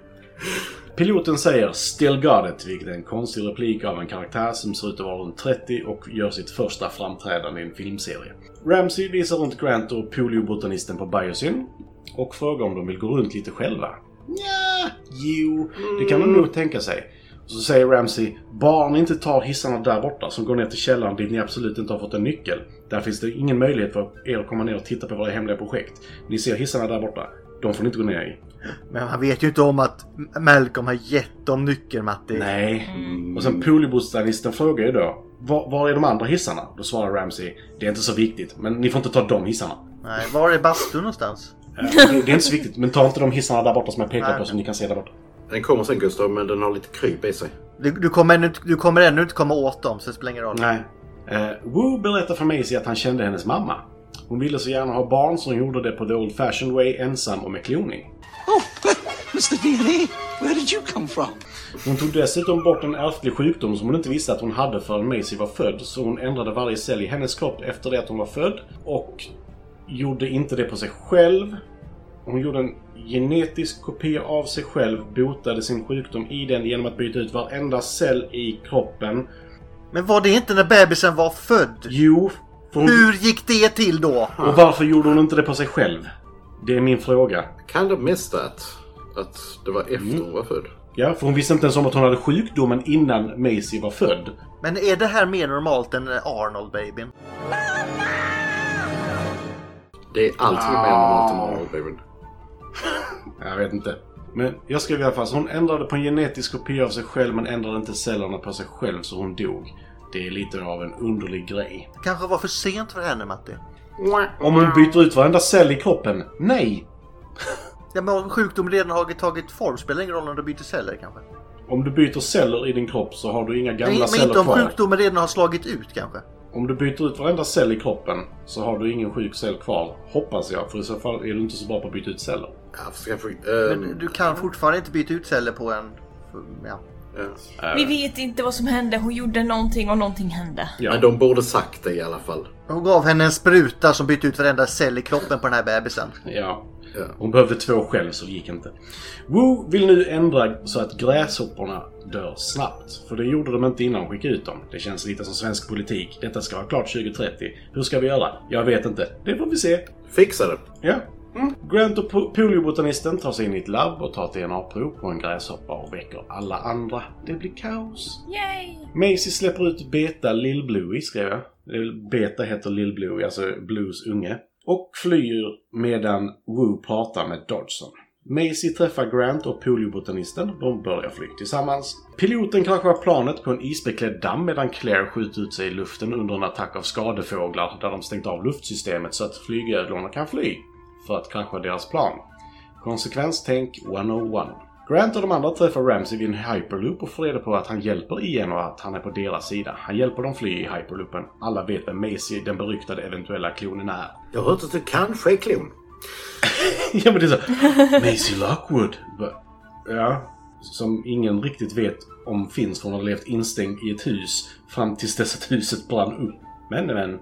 Piloten säger “Still got it”, vilket är en konstig replik av en karaktär som ser ut att vara runt 30 och gör sitt första framträdande i en filmserie. Ramsey visar runt Grant och poliobotanisten på Biosyn och frågar om de vill gå runt lite själva. Ja, jo, det kan de nog tänka sig. Och så säger Ramsey “Bara ni inte tar hissarna där borta som går ner till källaren dit ni absolut inte har fått en nyckel. Där finns det ingen möjlighet för er att komma ner och titta på våra hemliga projekt. Ni ser hissarna där borta. De får ni inte gå ner i.” Men han vet ju inte om att Malcolm har gett dem nyckeln, Matti. Nej. Mm. Och Mm. sen poliobotanisten frågar ju då var, var är de andra hissarna? Då svarar Ramsey det är inte så viktigt, men ni får inte ta de hissarna. Nej, var är bastun någonstans? Eh, Det, det är inte så viktigt, men ta inte de hissarna där borta som jag pekar Nej. på som ni kan se där borta. Den kommer sen Gustav, men den har lite kryp i sig. Du, du, kommer ännu, inte- du kommer ännu inte komma åt dem, så det spelar ingen roll. Nej. Eh, Wu berättar för Maisie att han kände hennes mamma. Hon ville så gärna ha barn så hon gjorde det på the old fashioned way ensam och med kloning. Mr. DNA, where did you come from? Hon tog dessutom bort en ärftlig sjukdom som hon inte visste att hon hade förrän Maisie var född. Så hon ändrade varje cell i hennes kropp efter det att hon var född. Och gjorde inte det på sig själv. Hon gjorde en genetisk kopia av sig själv, botade sin sjukdom i den genom att byta ut varenda cell i kroppen. Men var det inte när bebisen var född? Jo, för hon... Hur gick det till då? och varför gjorde hon inte det på sig själv? Det är min fråga. Kind of missed that. Att det var efter Mm. hon var född. Ja, för hon visste inte ens om att hon hade sjukdomen innan Maisie var född. Men är det här mer normalt än Arnold-babyn? Det är alltid mer normalt än Ah. normal, babyn. Jag vet inte. Men jag skrev i alla fall så hon ändrade på en genetisk kopia av sig själv men ändrade inte cellerna på sig själv så hon dog. Det är lite av en underlig grej. kanske var för sent för henne, Matti. Om hon byter ut varenda cell i kroppen? Nej! Ja, men om sjukdomen redan har tagit form spelar ingen roll om du byter celler kanske. Om du byter celler i din kropp så har du inga gamla Nej, men celler inte om kvar. sjukdomen redan har slagit ut kanske. Om du byter ut varenda cell i kroppen så har du ingen sjuk cell kvar. Hoppas jag, för i så fall är du inte så bra på att byta ut celler. Ja, för ska jag få... eh, Men du Mm. kan fortfarande inte byta ut celler på en... Ja. Vi vet inte vad som hände. Hon gjorde någonting och någonting hände. Men de borde sagt det i alla fall. Hon gav henne en spruta som bytte ut varenda cell i kroppen på den här bebisen. Ja. Ja. Hon behövde två själv så det gick inte. Wu vill nu ändra så att gräshopporna dör snabbt. För det gjorde de inte innan de skickade ut dem. Det känns lite som svensk politik. Detta ska vara klart 2030. Hur ska vi göra? Jag vet inte. Det får vi se. Fixa det. Ja. Mm. Grant och po- poliobotanisten tar sig in i ett labb och tar ett DNA-prov på en gräshoppa och väcker alla andra. Det blir kaos. Yay! Macy släpper ut Beta Lil Bluey, skrev jag. Det är väl Beta heter Lil Bluey, alltså Blues unge. Och flyr medan Wu pratar med Dodson. Macy träffar Grant och poliobotanisten. De börjar fly tillsammans. Piloten kraschar planet på en isbeklädd damm medan Claire skjuter ut sig i luften under en attack av skadefåglar där de stängt av luftsystemet så att flygödlorna kan fly. För att krascha deras plan. Konsekvenstänk 101. Grant och de andra träffar Ramsey vid en hyperloop och får reda på att han hjälper igen och att han är på deras sida. Han hjälper dem fly i hyperloopen. Alla vet vem Macy, den beryktade eventuella klonen, är. Jag har hört att du kanske är klon. ja men det är så. Macy Lockwood. Va- Ja. Som ingen riktigt vet om finns för hon har levt instängd i ett hus fram tills dess att huset brann upp. Men men.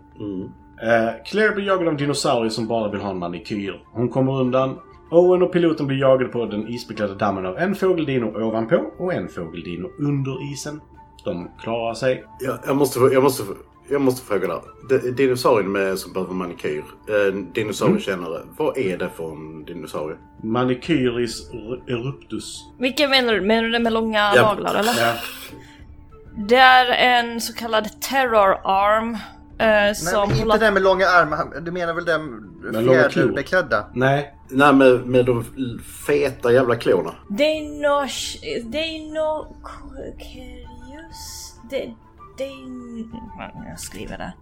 Eh, Claire blir jagad av dinosaurier som bara vill ha en manikyr. Hon kommer undan. Owen och piloten blir jagade på den isbeklädda dammen av en fågeldino ovanpå och en fågeldino under isen. De klarar sig. Jag, jag, måste, få- jag, måste, få- jag måste fråga där. D- Dinosaurien med, som behöver manikyr. Eh, Dinosauriekännare. Mm. Vad är det för en dinosaurie? Manikyris er- eruptus. Vilken menar du? Menar du den med långa Ja. naglar eller? Ja. Det är en så kallad terror arm. Eh, som Nej, håller- inte den med långa armar. Du menar väl långa den klor. fjäderbeklädda? Nej, Nej, med, med de feta jävla klorna. Dino... Dino... Curious... De- Dino... Jag skriver det.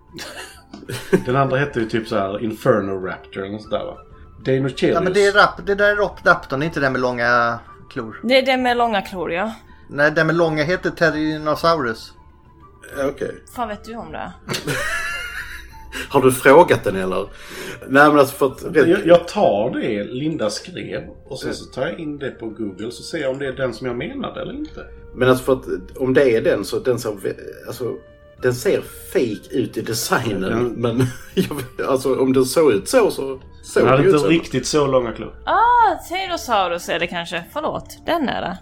Den andra hette ju typ så här Inferno Raptor eller nåt sånt där va? Dinochelius. Ja, men det, är rap, det där är Rapdapton, inte den med långa klor. Det är den med långa klor ja. Nej, den med långa heter Pterinosaurus. Ja, Okej. Fan vet du om det? Har du frågat den eller? Nej men alltså för att... Jag, jag tar det Linda skrev och sen Mm. så tar jag in det på Google så ser jag om det är den som jag menade eller inte. Men alltså för att om det är den så den ser... vä- Alltså, den ser fake ut i designen. Men jag, vet- alltså om den såg ut så så såg Den hade den ju ut inte så. riktigt så långa klor. Ah, Therosaurus är det kanske. Förlåt, den är det.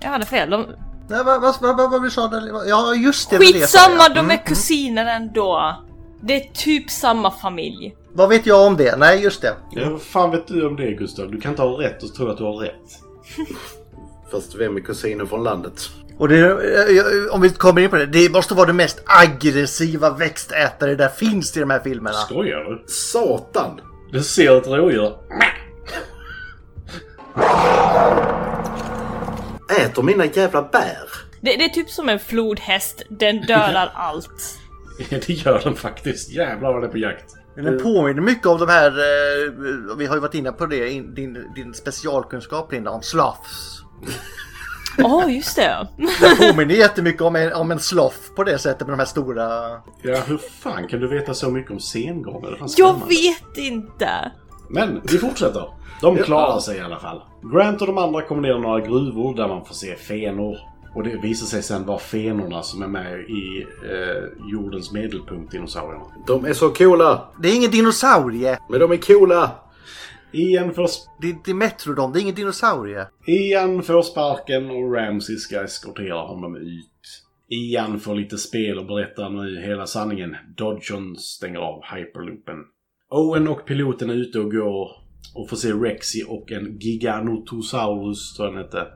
Jag hade fel. De... Nej, vad vad vad vad vi sa där? Ja, just det. det var det jag sa, Skitsamma, ja. de Mm. är kusiner ändå. Det är typ samma familj. Vad vet jag om det? Nej, just det. Ja, vad fan vet du om det Gustav? Du kan inte ha rätt och tro att du har rätt. Fast vem är kusinen från landet? Och det, eh, jag- om vi kommer in på det. Det måste vara det mest aggressiva växtätare där finns i de här filmerna. Skojar du? Satan! Den ser ett rådjur. Äter mina jävla bär! Det, det är typ som en flodhäst, den dödar allt. Ja, det gör den faktiskt. Jävlar vad den är på jakt. Den påminner mycket om de här, eh, vi har ju varit inne på det, in- din, din specialkunskap Linda, om sloths. Åh, just det. Den påminner jättemycket om en, om en sloth på det sättet med de här stora... Ja, hur fan kan du veta så mycket om sengångare? Det är fan spännande. Jag vet inte. Men vi fortsätter. De klarar sig i alla fall. Grant och de andra kommer ner i några gruvor där man får se fenor. Och det visar sig sen vara fenorna som är med i eh, jordens medelpunkt, dinosaurierna. De är så coola! Det är ingen dinosaurie! Men de är coola! Ian får, sp- Det är Dimetrodon, det är ingen dinosaurie. Ian får sparken och Ramsey ska eskortera honom ut. Ian får lite spel och berättar nu hela sanningen. Dodgen stänger av hyperloopen. Owen och piloten är ute och går och får se Rexy och en Giganotosaurus, tror jag den hette.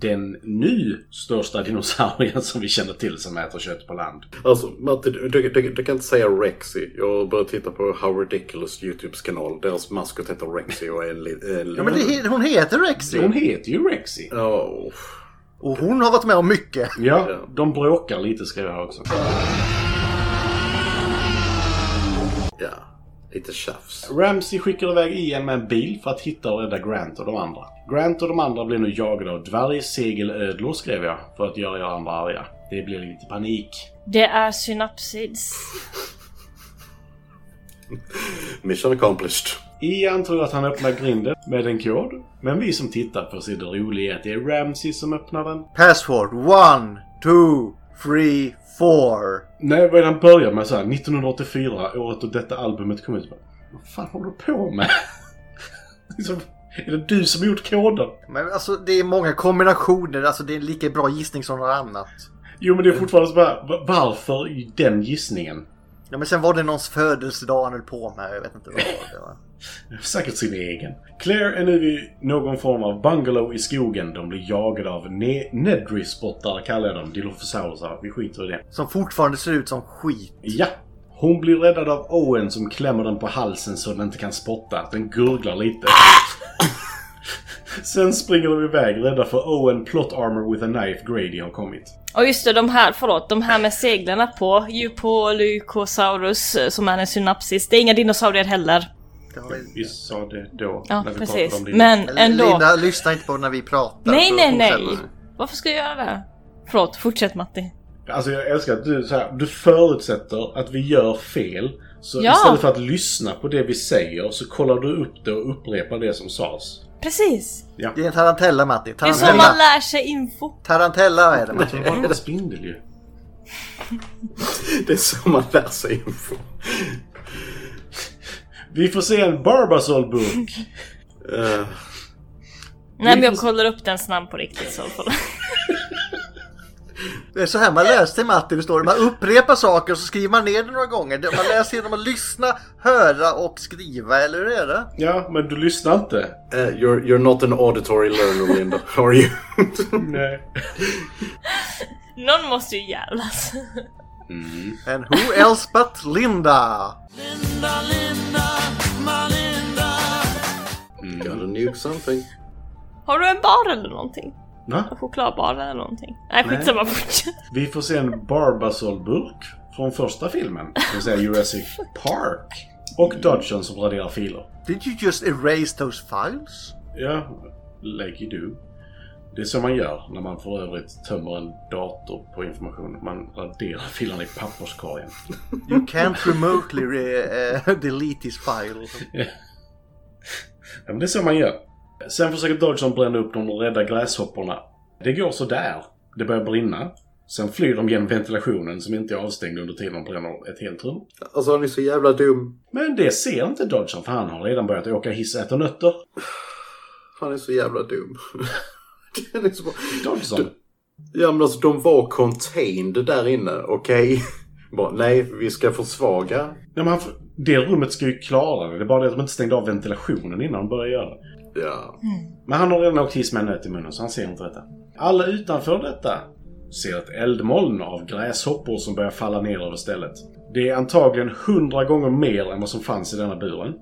Den nu största dinosaurien som vi känner till som äter kött på land. Alltså Martin, du, du, du, du kan inte säga Rexy. Jag har börjat titta på How Ridiculous YouTubes kanal. Deras maskot heter Rexy och är en, li- en Ja, men det, he- hon heter Rexy! Hon heter ju Rexy. Ja, Och hon har varit med om mycket. Ja, de bråkar lite skrev jag också. ja, lite tjafs. Ramsey skickar iväg Ian med en bil för att hitta och rädda Grant och de andra. Grant och de andra blir nu jagade av dvärgsegelödlor skrev jag, för att göra er andra arga. Det blir lite panik. Det är synapsids. Mission accomplished. Ian tror att han öppnar grinden med en kod, men vi som tittar får se det roliga att det är Ramsey som öppnar den. Password one, two, three, four. Nej, vad är det han börjar med så här? 1984, året då detta albumet kom ut. Bara, Vad fan håller du på med? liksom, är det du som har gjort koden? Men alltså det är många kombinationer, alltså det är en lika bra gissning som något annat. Jo, men det är fortfarande så bara, va- varför i den gissningen? Ja men sen var det någons födelsedag han höll på med, jag vet inte vad det var. Det var. Säkert sin egen. Claire är nu i någon form av bungalow i skogen. De blir jagade av ne- Nedry-spottar, kallar jag dem. Dilophosaurusar. Vi skiter i det. Som fortfarande ser ut som skit. Ja! Hon blir räddad av Owen som klämmer den på halsen så den inte kan spotta. Den gurglar lite. Sen springer de iväg rädda för Owen Plot Armor with a Knife Grady har kommit. Och just det, de här, förlåt, de här med seglarna på, Eupolycosaurus, eh, som är en synapsis. Det är inga dinosaurier heller. Det var... Vi sa det då. Ja, när vi pratade precis. om det. Men ändå. Linda, lyssna inte på när vi pratar. nej, så nej, fortsätt. nej. Varför ska jag göra det? Förlåt, fortsätt Matti. Alltså jag älskar att du, så här, du förutsätter att vi gör fel. Så Ja. istället för att lyssna på det vi säger så kollar du upp det och upprepar det som sades. Precis. Det är en tarantella Matti. Det är så Tarantella, man lär sig info. tarantella är det Matti. Det var en spindel ju. Det är så man lär sig info. Vi får se en Barbasol-burk. Eh, Nej men jag kollar upp den snabbt på riktigt så. Det är så här man läste Matti, det står. Man upprepar saker och så skriver man ner det några gånger. Man läser genom att lyssna, höra och skriva, eller hur är det? Ja, men du lyssnar inte. eh, you're, you're not an auditory learner, Linda. Are you? Nej. Någon måste ju jävlas. And who else but Linda? Mm. Gotta nuke something. Har du en bar eller någonting? Va? En chokladbar eller någonting? Nej skitsamma, fortsätt. Vi får se en Barbasol-burk från första filmen. Det vill säga Jurassic Park. Och Dodgen som raderar filer. Did you just erase those files? Ja, like you do. Det är så man gör när man för övrigt tömmer en dator på information. Man raderar filerna i papperskorgen. You can't remotely re- eh, delete this file. Ja, men det är så man gör. Sen försöker Dodson bränna upp de rädda gräshopporna. Det går så där. Det börjar brinna. Sen flyr de genom ventilationen som inte är avstängd under tiden de bränner ett helt rum. Alltså han är så jävla dum. Men det ser inte Dodson för han har redan börjat åka hiss och äta nötter. Han är så jävla dum. Den är liksom- så bra. Dodson. Ja men alltså de var contained där inne, okej? Bara, nej, vi ska försvaga. Nej, men han, det rummet ska ju klara det. Det är bara det att de inte stängde av ventilationen innan de började göra det. Ja. Men han har redan åkt hiss med en nöt i munnen så han ser inte detta. Alla utanför detta ser ett eldmoln av gräshoppor som börjar falla ner över stället. Det är antagligen hundra gånger mer än vad som fanns i denna buren.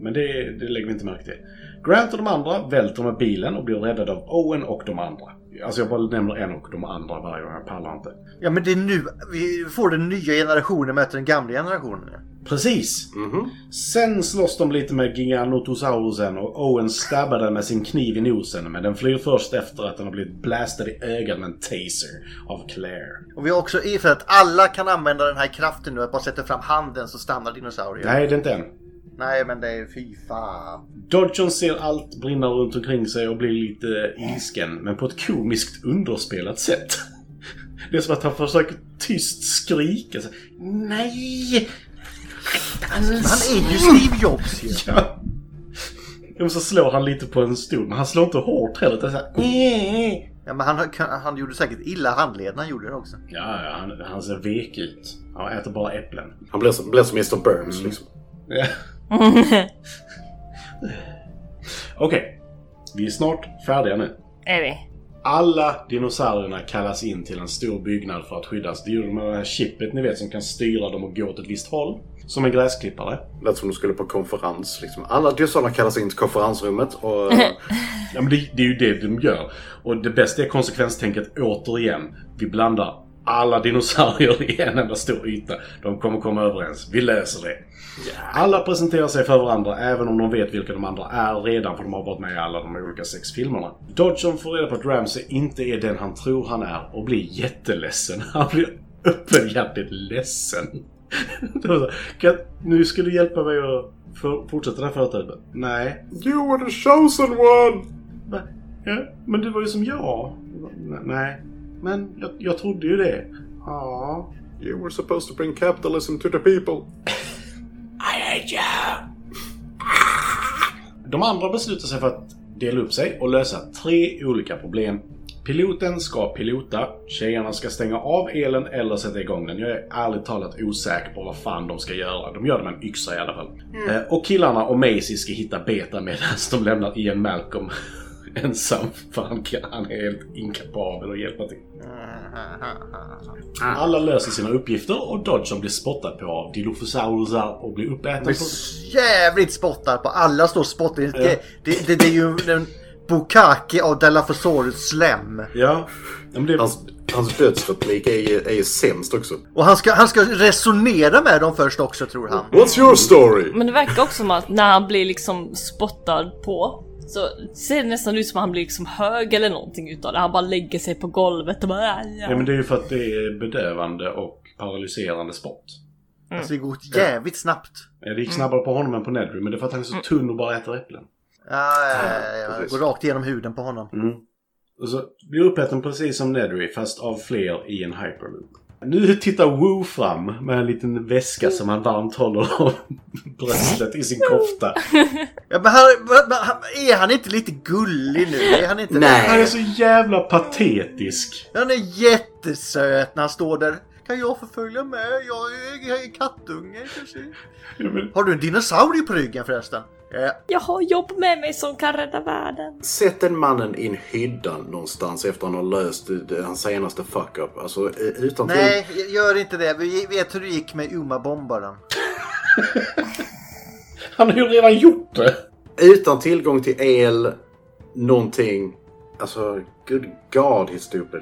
Men det, det lägger vi inte märke till. Grant och de andra välter med bilen och blir räddade av Owen och de andra. Alltså jag bara nämner en och de andra varje gång, jag pallar inte. Ja men det är nu vi får den nya generationen möta den gamla generationen. Precis! Mhm. Sen slåss de lite med Giganotosaurusen och Owen stabbar den med sin kniv i nosen men den flyr först efter att den har blivit blastad i ögat med en taser av Claire. Och vi har också i för att alla kan använda den här kraften nu. Att bara sätta fram handen så stannar dinosaurier. Nej, det är inte än. Nej men det är fy fan. Dodgeon ser allt brinna runt omkring sig och blir lite ilsken, men på ett komiskt underspelat sätt. Det är som att han försöker tyst skrika. Så, Nej! Han är ju Steve Jobs ju. Ja. Och så slår han lite på en stol, men han slår inte hårt heller. utan så här, "Eh, eh." Ja men han, han gjorde säkert illa handleden han gjorde det också. Ja, ja, han, han ser vek ut. Han äter bara äpplen. Han blev som, blev som Mr Burns liksom. Ja. Okej. Vi är snart färdiga nu. Är vi? Alla dinosaurierna kallas in till en stor byggnad för att skyddas. Det gjorde de med det här chippet ni vet som kan styra dem och gå åt ett visst håll. Som en gräsklippare. Lät som de skulle på konferens liksom. Alla dinosaurier kallas in till konferensrummet och... eh, Ja, men det, det är ju det de gör. Och det bästa är konsekvenstänket återigen. Vi blandar alla dinosaurier i en enda stor yta. De kommer komma överens. Vi löser det. Alla presenterar sig för varandra även om de vet vilka de andra är redan för de har varit med i alla de olika sex filmerna. Dodson får reda på att Ramsey inte är den han tror han är och blir jätteledsen. Han blir öppenhjärtigt ledsen. Det var så här, "Kan- nu ska du hjälpa mig att för- fortsätta den här företaget. Nej, You were the chosen one! Va? Ja, men du var ju som jag. N- Nej. Men jag, jag trodde ju det. Ja. You were supposed to bring capitalism to the people. De andra beslutar sig för att dela upp sig och lösa tre olika problem. Piloten ska pilota, tjejerna ska stänga av elen eller sätta igång den. Jag är ärligt talat osäker på vad fan de ska göra. De gör det med en yxa i alla fall. Eh, Och killarna och Macy ska hitta Beta medan de lämnar Ian Malcolm ensam. För han, kan, han är helt inkapabel att hjälpa till. Alla löser sina uppgifter och Dodson blir spottad på av Dilophosaurusar och blir uppäten. De på- är jävligt spottar på. Alla står och spottar. Det, det, det, det är ju en Bukaki av Dilophosaurus slem. Ja. ja men det... Hans, hans dödsreplik är ju, är ju sämst också. Och han ska, han ska resonera med dem först också tror han. What's your story? Men det verkar också som att när han blir liksom spottad på så ser det nästan ut som att han blir liksom hög eller någonting utav det. Han bara lägger sig på golvet och bara... Ja, men det är ju för att det är bedövande och paralyserande spott. Alltså det går jävligt snabbt. Ja, Det gick snabbare på honom än på Nedry, men det är för att han är så tunn och bara äter äpplen. Ja, ja, ja, ja. precis. Går rakt igenom huden på honom. Och så blir uppäten precis som Nedry, fast av fler i en hyperloop. Nu tittar Wu fram med en liten väska som han varmt håller om bröstet i sin kofta. Ja, men han, men han, är han inte lite gullig nu? Är han inte det? Han är så jävla patetisk. Han är jättesöt när han står där. Kan jag få följa med? Jag är, jag är kattunge kanske. Ja, men- Har du en dinosaurie på ryggen förresten? Eh, Ja. Jag har jobb med mig som kan rädda världen. Sätt den mannen i en hydda någonstans efter han har löst det- det- hans senaste fuck-up. Alltså eh, utan till... Nej, gör inte det. Vi vet hur det gick med Uma-bombaren. Han har ju redan gjort det! Utan tillgång till el, någonting. Alltså, good god, he's stupid.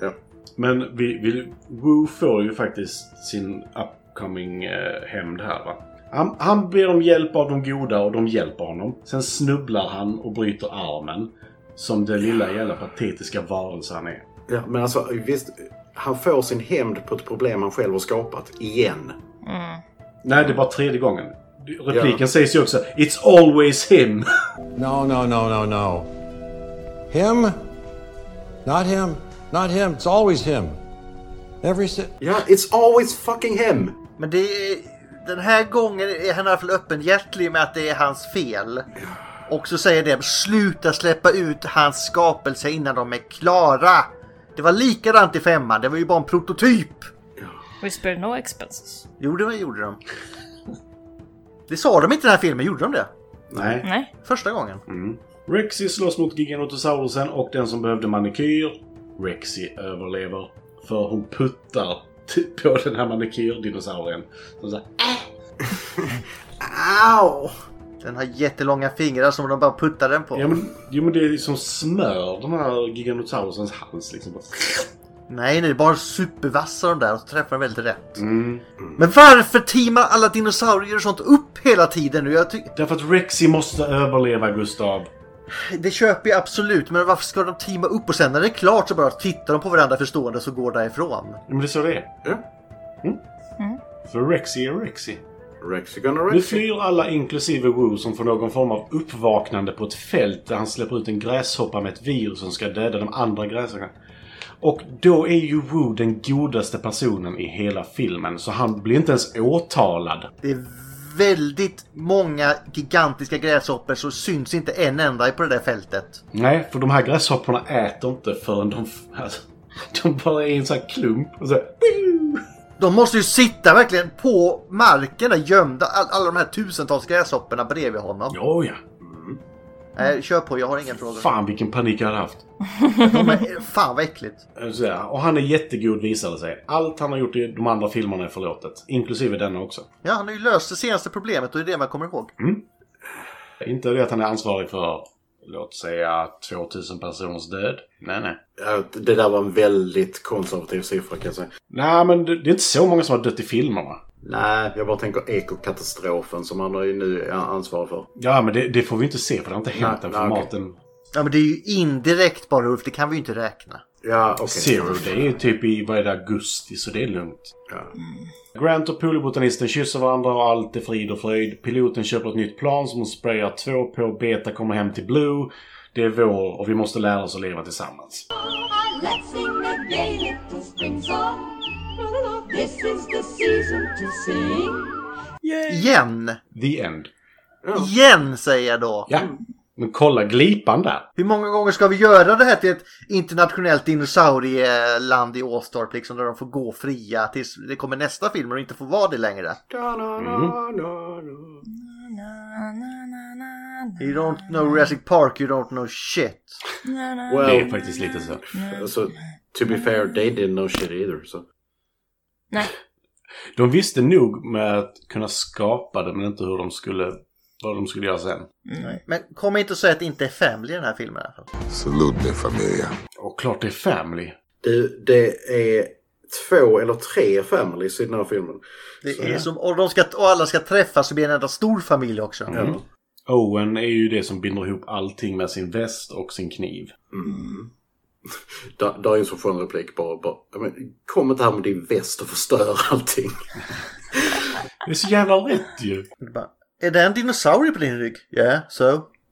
Ja. Men vi, vi, Wu får ju faktiskt sin upcoming eh, hämnd här va. Han, han ber om hjälp av de goda och de hjälper honom. Sen snubblar han och bryter armen. Som den lilla jävla patetiska varelse han är. Ja, men alltså visst. Han får sin hämnd på ett problem han själv har skapat. Igen. Nej, det var tredje gången. Repliken sägs ju också It's always him. No, no, no, no, no. Him? Not him. Not him. It's always him. Every si- Yeah, it's always fucking him. Men det är, den här gången är han i alla fall öppenhjärtig med att det är hans fel. Och så säger de sluta släppa ut hans skapelse innan de är klara. Det var likadant i femman, det var ju bara en prototyp. We spared no expenses. Jo, det gjorde de. Det sa de inte i den här filmen, gjorde de det? Nej. Nej. Första gången. Mm. Rexy slåss mot Giganotosaurusen och den som behövde manikyr, Rexy, överlever. För hon puttar t- på den här manikyrdinosaurien. Som såhär, Au! Den har jättelånga fingrar som de bara puttar den på. ja, men, jo men det är som smör den här Giganotosaurusens hals liksom. Bara, Nej, nej, bara supervassa de där och så träffar de väldigt rätt. Mm. Men varför teamar alla dinosaurier och sånt upp hela tiden nu? Jag tycker... Därför att Rexy måste överleva Gustav. Det köper jag absolut, men varför ska de teama upp och sen när det är klart så bara tittar de på varandra förstående och går därifrån? Ja, Men det är så det är. Ja. Mm. För Rexy är Rexy. Rexicon Nu Rexy. flyr alla inklusive Wu som får någon form av uppvaknande på ett fält där han släpper ut en gräshoppa med ett virus som ska döda de andra gräshopparna. Och då är ju Wu den godaste personen i hela filmen, så han blir inte ens åtalad. Det är väldigt många gigantiska gräshoppor så syns inte en enda på det där fältet. Nej, för de här gräshopporna äter inte förrän de... Alltså, de bara är i en sån här klump. Och så, De måste ju sitta verkligen på marken där gömda, all, alla de här tusentals gräshopporna bredvid honom. ja, ja. Nej, kör på, jag har inga frågor. Fan vilken panik jag hade haft. Eh, De är, eh, fan vad äckligt. Så där, Och han är jättegod visade det sig. Allt han har gjort i de andra filmerna är förlåtet. Inklusive denna också. Ja, han har ju löst det senaste problemet och det är det man kommer ihåg. Inte det att han är ansvarig för, låt säga, 2000 personers död. Nej, nej. Ja, det där var en väldigt konservativ siffra kan jag säga. Nej, men det, det är inte så många som har dött i filmerna. Nej, jag bara tänker ekokatastrofen som han är nu är ansvarig för. Ja, men det, det får vi inte se för det har inte hänt Nej, än. nej, För okej. maten... Ja, men det är ju indirekt bara Ulf, det kan vi ju inte räkna. Ja, okej. Zero, det är ju typ i, vad är det, augusti, så det är lugnt. Mm. Ja. Grant och polobotanisten kysser varandra och allt är frid och fröjd. Piloten köper ett nytt plan som hon sprayar två på. Beta kommer hem till Blue. Det är vår och vi måste lära oss att leva tillsammans. Let's sing the gay little spring song. This is the season to sing. Igen! The end. Igen säger jag då! Ja. Men kolla glipan där. Hur många gånger ska vi göra det här till ett internationellt dinosaurieland i Åstorp liksom där de får gå fria tills det kommer nästa film och de inte får vara det längre? Mm. You don't know Jurassic Park, you don't know shit. Well, Det är faktiskt lite så. alltså, to be fair, they didn't know shit either. Så. Nej. De visste nog med att kunna skapa det men inte hur de skulle, vad de skulle göra sen. Men kom inte och säg att det inte är family i den här filmen. i alla fall. Salute me, familia. Och klart det är family. Det, det är två eller tre families i den här filmen. Så, Det är ja. som, och, de ska, och alla ska träffas och bli en enda stor familj också. Ja. Owen är ju det som binder ihop allting med sin väst och sin kniv. Där, där är en så skön replik bara. bara "Ja, men, kom inte här med din väst och förstör allting. Det är så jävla rätt ju! Det är bara, Är det en dinosaurie på din rygg? Yeah, so.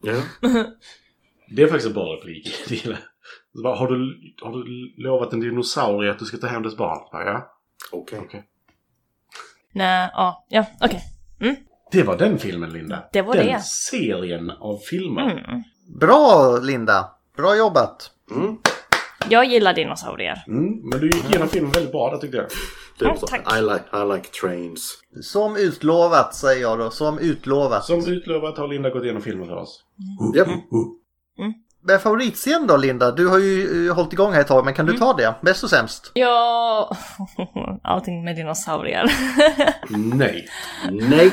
Ja. Det är faktiskt en bra replik. Det gillar jag. Så bara, Har du, har du lovat en dinosaurie att du ska ta hem dess barn? Ja, Ja. Okej. Okej. Nej, ja, ja, okej. Det var den filmen, Linda. Det var den det. serien av filmer. Mm. Bra Linda! Bra jobbat! Mm, Jag gillar dinosaurier. Mm, Men du gick igenom filmen väldigt bra, det tyckte jag. Det är Ja, så, tack. I, like, I like trains. Som utlovat säger jag då, som utlovat. Som utlovat har Linda gått igenom filmen för oss. Japp. uh. Men favoritscen då Linda? Du har ju eh, hållit igång här ett tag, men kan du ta det? Bäst och sämst? Ja, allting med dinosaurier. Nej. Nej!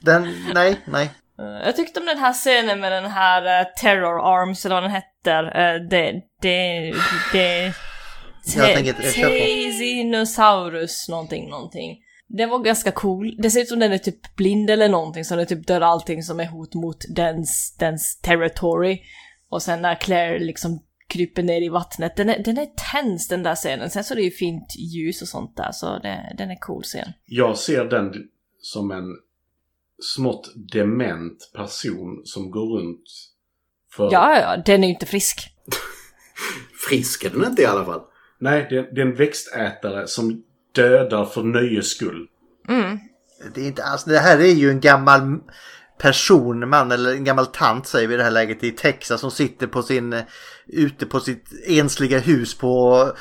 Den, nej, nej. Eh, Jag tyckte om den här scenen med den här eh, Terror Arms eller vad den heter. Eh, det, det, det... Jag tänker inte- jag kör på. Tesinosaurus någonting, någonting. Den var ganska cool. Det ser ut som den är typ blind eller någonting, så den typ dör allting som är hot mot dens, dens territory. Och sen när Claire liksom kryper ner i vattnet, den är, den är tänds den där scenen. Sen så är det ju fint ljus och sånt där, så det, den är cool scen. Jag ser den som en smått dement person som går runt för... Ja, ja, den är ju inte frisk. Frisk är den inte i alla fall. Nej, det, det är en växtätare som dödar för nöjes skull. Mm. Det, är inte alls, det här är ju en gammal person, man eller en gammal tant säger vi i det här läget i Texas som sitter på sin, eh, ute på sitt ensliga hus på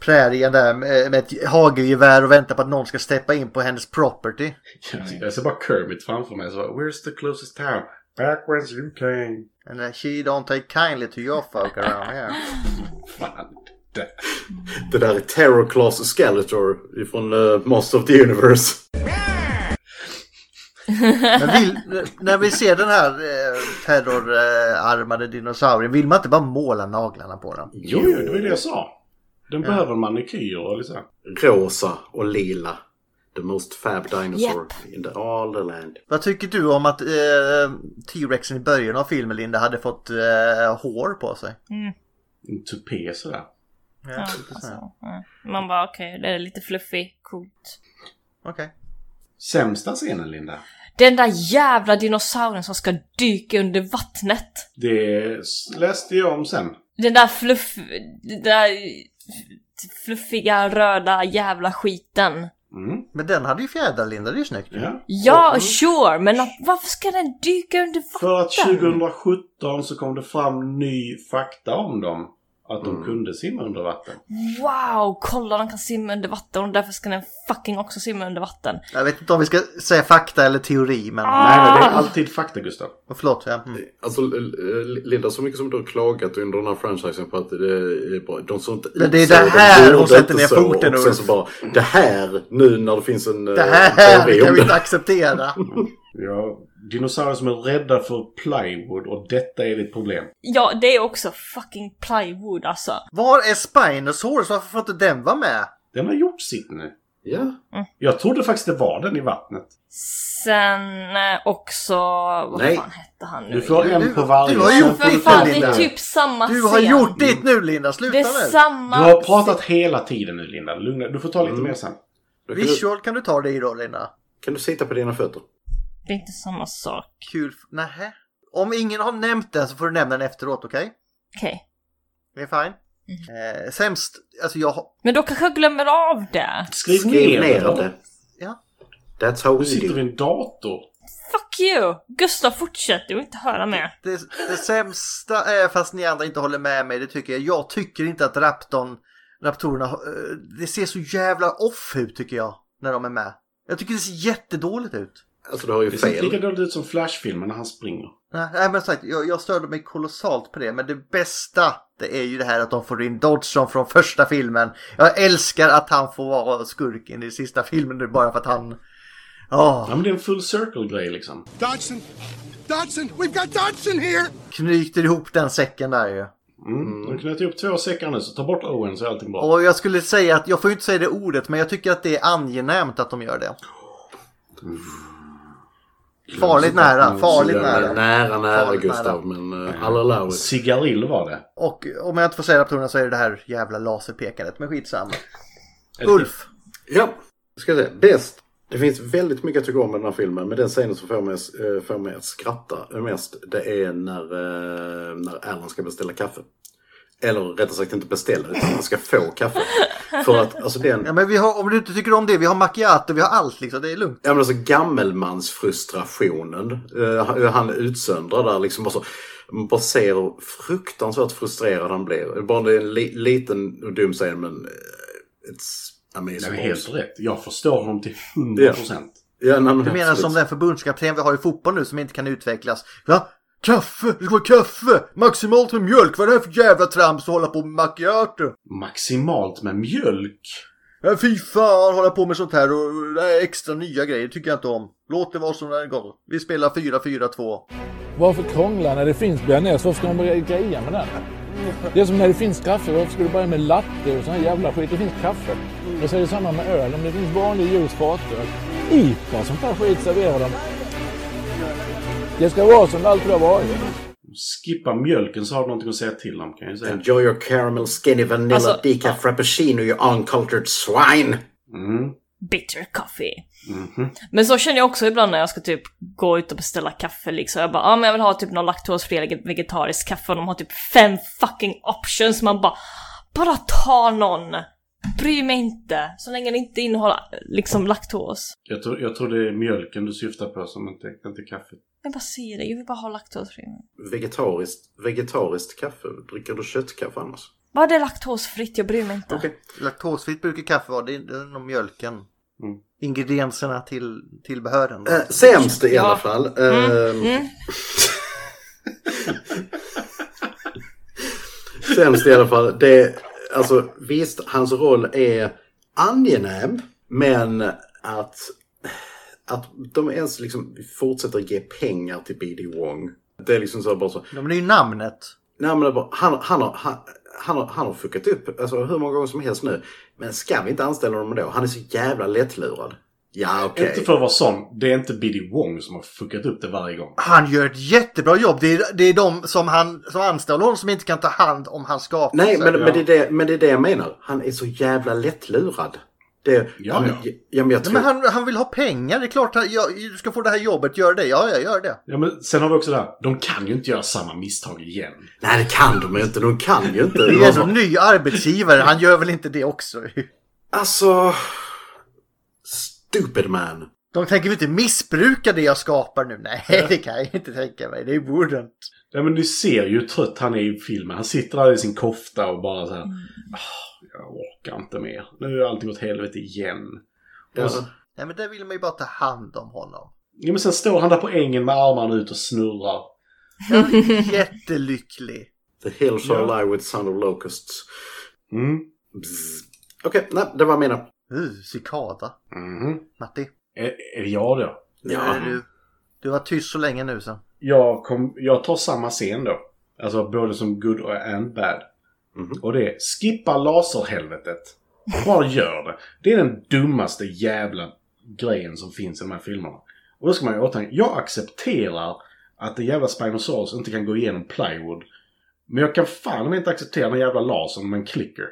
prärien där med med ett hagelgevär och väntar på att någon ska steppa in på hennes property. Jag ser bara Kermit framför mig. Så bara, Where's the closest town? Backwards you came. And uh, she don't take kindly to your folk around here. Fan. Det. Det där är Terror Class Skeletor ifrån uh, Master of the Universe. Men vill, när vi ser den här eh, terrorarmade dinosaurien, vill man inte bara måla naglarna på den? Jo, jo, det var ju det jag sa. Den behöver manikyr och liksom. Rosa och lila. The most fab dinosaur in the, all the land. Vad tycker du om att eh, T-Rexen i början av filmen, Linda, hade fått eh, hår på sig? En tupé sådär. Ja, Typ alltså, ja. Man bara okej, det är lite fluffig, coolt. Okej. Sämsta scenen, Linda? Den där jävla dinosaurien som ska dyka under vattnet. Det s- läste jag om sen. Den där fluff... Den där fluffiga röda jävla skiten. Mm, Men den hade ju fjädrar, Linda. Det är ju snyggt. Ja, sure, men att, varför ska den dyka under vatten? För att 2017 så kom det fram ny fakta om dem. Att de kunde simma under vatten. Wow, kolla den kan simma under vatten och därför ska den fucking också simma under vatten. Jag vet inte om vi ska säga fakta eller teori, men... Nej, nej, det är alltid fakta, Gustav. Förlåt, ja. Mm. Alltså L- L- Linda, så mycket som du har klagat under den här franchisen på att det är bra. De såg inte Men det är ut det så, de här gjorde hon sätter inte ner så, foten, Och sen Ulf. så bara, det här nu när det finns en eh, Det här teori kan om vi det. inte acceptera. Ja, dinosaurier som är rädda för plywood och detta är ditt problem. Ja, det är också fucking plywood alltså. Var är Spinosaurus? Varför får inte den vara med? Den har gjort sitt nu. Ja. Jag trodde faktiskt det var den i vattnet. Sen eh, också... Vad Nej. fan hette han nu? Du får en på varje. du har sen gjort får För du fan, ta det den. är typ samma Du har scen. gjort ditt nu, Linda. Sluta Det är nu. Du samma... har pratat hela tiden nu, Linda. Lugna. Du får ta lite Mm. mer sen. Då Kan, du, Visual kan du ta det i då, Linda. kan du sitta på dina fötter? Det är inte samma sak. Kul. f- Nähä. Om ingen har nämnt den så får du nämna den efteråt, okej? Okej. Det är fine. Eh, sämst, alltså jag har... Men då kanske jag glömmer av det. Skriv, Skriv ner den. det. Ja. That's how Nu we sitter do. vid en dator. Fuck you! Gustav, fortsätt. Du vill inte höra mer. Det, det sämsta är, fast ni andra inte håller med mig, det tycker jag. Jag tycker inte att Raptorn, Raptorerna, eh, det ser så jävla off ut tycker jag. När de är med. Jag tycker det ser jättedåligt ut. Alltså du har ju Det ser inte lika fel. dåligt ut som Flash-filmen när han springer. Nej, Nej men sagt, jag, jag störde mig kolossalt på det. Men det bästa det är ju det här att de får in Dodson från första filmen. Jag älskar att han får vara skurken i sista filmen nu bara för att han... Ja, Ja, men det är en full circle-grej liksom. Dodson! Dodson! We've got Dodson here! knyter ihop den säcken där ju. Mm. De knöt ihop två säckar nu, så ta bort Owen så är allting bra. Och jag skulle säga att, jag får ju inte säga det ordet, men jag tycker att det är angenämt att de gör det. Farligt nära, farligt Nära, nära. nära, nära Farligt Gustav, men uh, all allow it. Cigarill var det. Och om jag inte får säga raptorerna så är det det här jävla laserpekandet, men skitsamma. Eller- Ulf, Ja, ska jag säga. Bäst. Det finns väldigt mycket jag tycker om med den här filmen, men den scenen som får mig, eh, får mig att skratta mest, det är när, eh, när Alan ska beställa kaffe. Eller rättare sagt inte beställa, utan han ska få kaffe. För att alltså den, ja, men vi har, om du inte tycker om det, vi har macchiato, vi har allt liksom, det är lugnt. Ja men alltså gammelmansfrustrationen. Uh, han utsöndrar där liksom. Och så, man bara ser hur fruktansvärt frustrerad han blir. Bara det är en li- liten och dum scen men eh, it's Det är amazing. helt rätt. Jag förstår honom till 100%. Ja, nej, men Du menar absolut. som den förbundskapten vi har i fotboll nu som inte kan utvecklas. Va? Kaffe! Det ska vara kaffe! Maximalt med mjölk! Vad är det här för jävla trams att hålla på med macchiato? Maximalt med mjölk. Ja, fy fan, hålla på med sånt här och det här är extra nya grejer tycker jag inte om. Låt det vara som det går. Vi spelar 4-4-2. Varför krångla när det finns bearnaise? Varför ska man börja greja med den? Det är som när det finns kaffe. Varför ska du börja med latte och sån här jävla skit? Det finns kaffe. Och så är det samma med öl. Om det finns vanlig ljus fatöl. IPA och sånt där skit serverar de. Det ska vara som det alltid har varit. skippa mjölken så har du någonting att säga till om kan jag ju säga. Enjoy your caramel skinny vanilla Alltså, deca frappuccino you uncultured swine! Mm. Bitter coffee. Mhm. Men så känner jag också ibland när jag ska typ gå ut och beställa kaffe liksom. Jag bara, ah, men jag vill ha typ någon laktosfri eller vegetarisk kaffe och de har typ fem fucking options. Man bara, bara ta någon! Bry mig inte, så länge det inte innehåller liksom laktos. Jag, tror, jag tror det är mjölken du syftar på som inte, inte kaffet. Jag bara säger det, jag vill bara ha laktosfri. Vegetariskt, vegetariskt kaffe. Dricker du köttkaffe annars? Vad är laktosfritt? Jag bryr mig inte. Laktosfritt brukar kaffe vara, det är, det är nog mjölken. Mm. Ingredienserna till tillbehören. Eh, sämst i alla fall. Ehm, Sämst i alla fall. Det, alltså, visst, hans roll är angenäm, men att, att de ens liksom fortsätter ge pengar till BD Wong. Det är liksom så här bara så. Men det är ju namnet. Nej, men det är bara, han, han, har, han, han, har, han har fuckat upp alltså, hur många gånger som helst nu. Men ska vi inte anställa honom då? Han är så jävla lättlurad. Ja, okej. Inte för att vara sån. Det är inte Biddy Wong som har fuckat upp det varje gång. Han gör ett jättebra jobb. Det är, det är de som, han, som anställer honom som inte kan ta hand om hans skapelse. Nej, men, men, det är det, men det är det jag menar. Han är så jävla lättlurad. Det, Ja, han, ja. ja, men jag Nej, tror... men han, han vill ha pengar. Det är klart att jag, du ska få det här jobbet. Gör det. Ja, jag gör det. Ja, men sen har vi också det här. De kan ju inte göra samma misstag igen. Nej, det kan de ju inte. De kan ju inte. Det är en ny arbetsgivare. Han gör väl inte det också? Alltså... Stupid man. De tänker väl inte missbruka det jag skapar nu? Nej, det kan jag inte tänka mig. Det borde inte. Ja, men ni ser ju hur trött han är i filmen. Han sitter där i sin kofta och bara så här. "Ah, jag orkar inte mer. Nu har allting gått helvete igen. Och Alltså, så, Nej, men där vill man ju bara ta hand om honom. ja, men sen står han där på ängen med armarna ut och snurrar. Jag är jättelycklig. The hill shall lie with sound of locusts. Mm, Bzz. Okej, nej, det var mina. Uh, cikada. Mm. Matti, Är, är det jag då? nu är du, du var tyst så länge nu sen. Jag, kom, jag tar samma scen då. Alltså både som good och and bad. Och det är skippa laserhelvetet. Bara gör det. Det är den dummaste jävla grejen som finns i de här filmerna. Och då ska man ju ha i åtanke, jag accepterar att det jävla Spinosaurus inte kan gå igenom plywood. Men jag kan fan inte acceptera den jävla lasern med en clicker.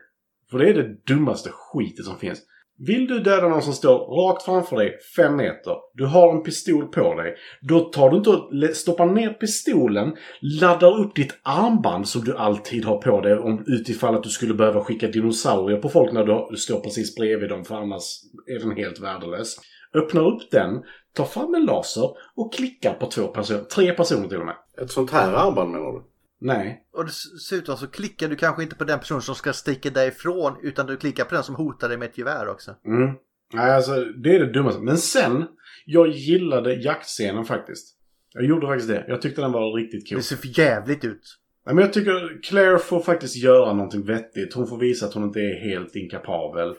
För det är det dummaste skitet som finns. Vill du döda någon som står rakt framför dig, fem meter, du har en pistol på dig. Då tar du inte och le- stoppar ner pistolen, laddar upp ditt armband som du alltid har på dig om, utifall att du skulle behöva skicka dinosaurier på folk när du, har- du står precis bredvid dem, för annars är den helt värdelös. Öppnar upp den, tar fram en laser och klickar på två personer, tre personer till och med. Ett sånt här armband menar du? Nej. Och dessutom så klickar du kanske inte på den personen som ska sticka därifrån utan du klickar på den som hotar dig med ett gevär också. Mm. Nej, alltså det är det dummaste. Men sen, jag gillade jaktscenen faktiskt. Jag gjorde faktiskt det. Jag tyckte den var riktigt cool. Det ser för jävligt ut. Nej, men jag tycker Claire får faktiskt göra någonting vettigt. Hon får visa att hon inte är helt inkapabel.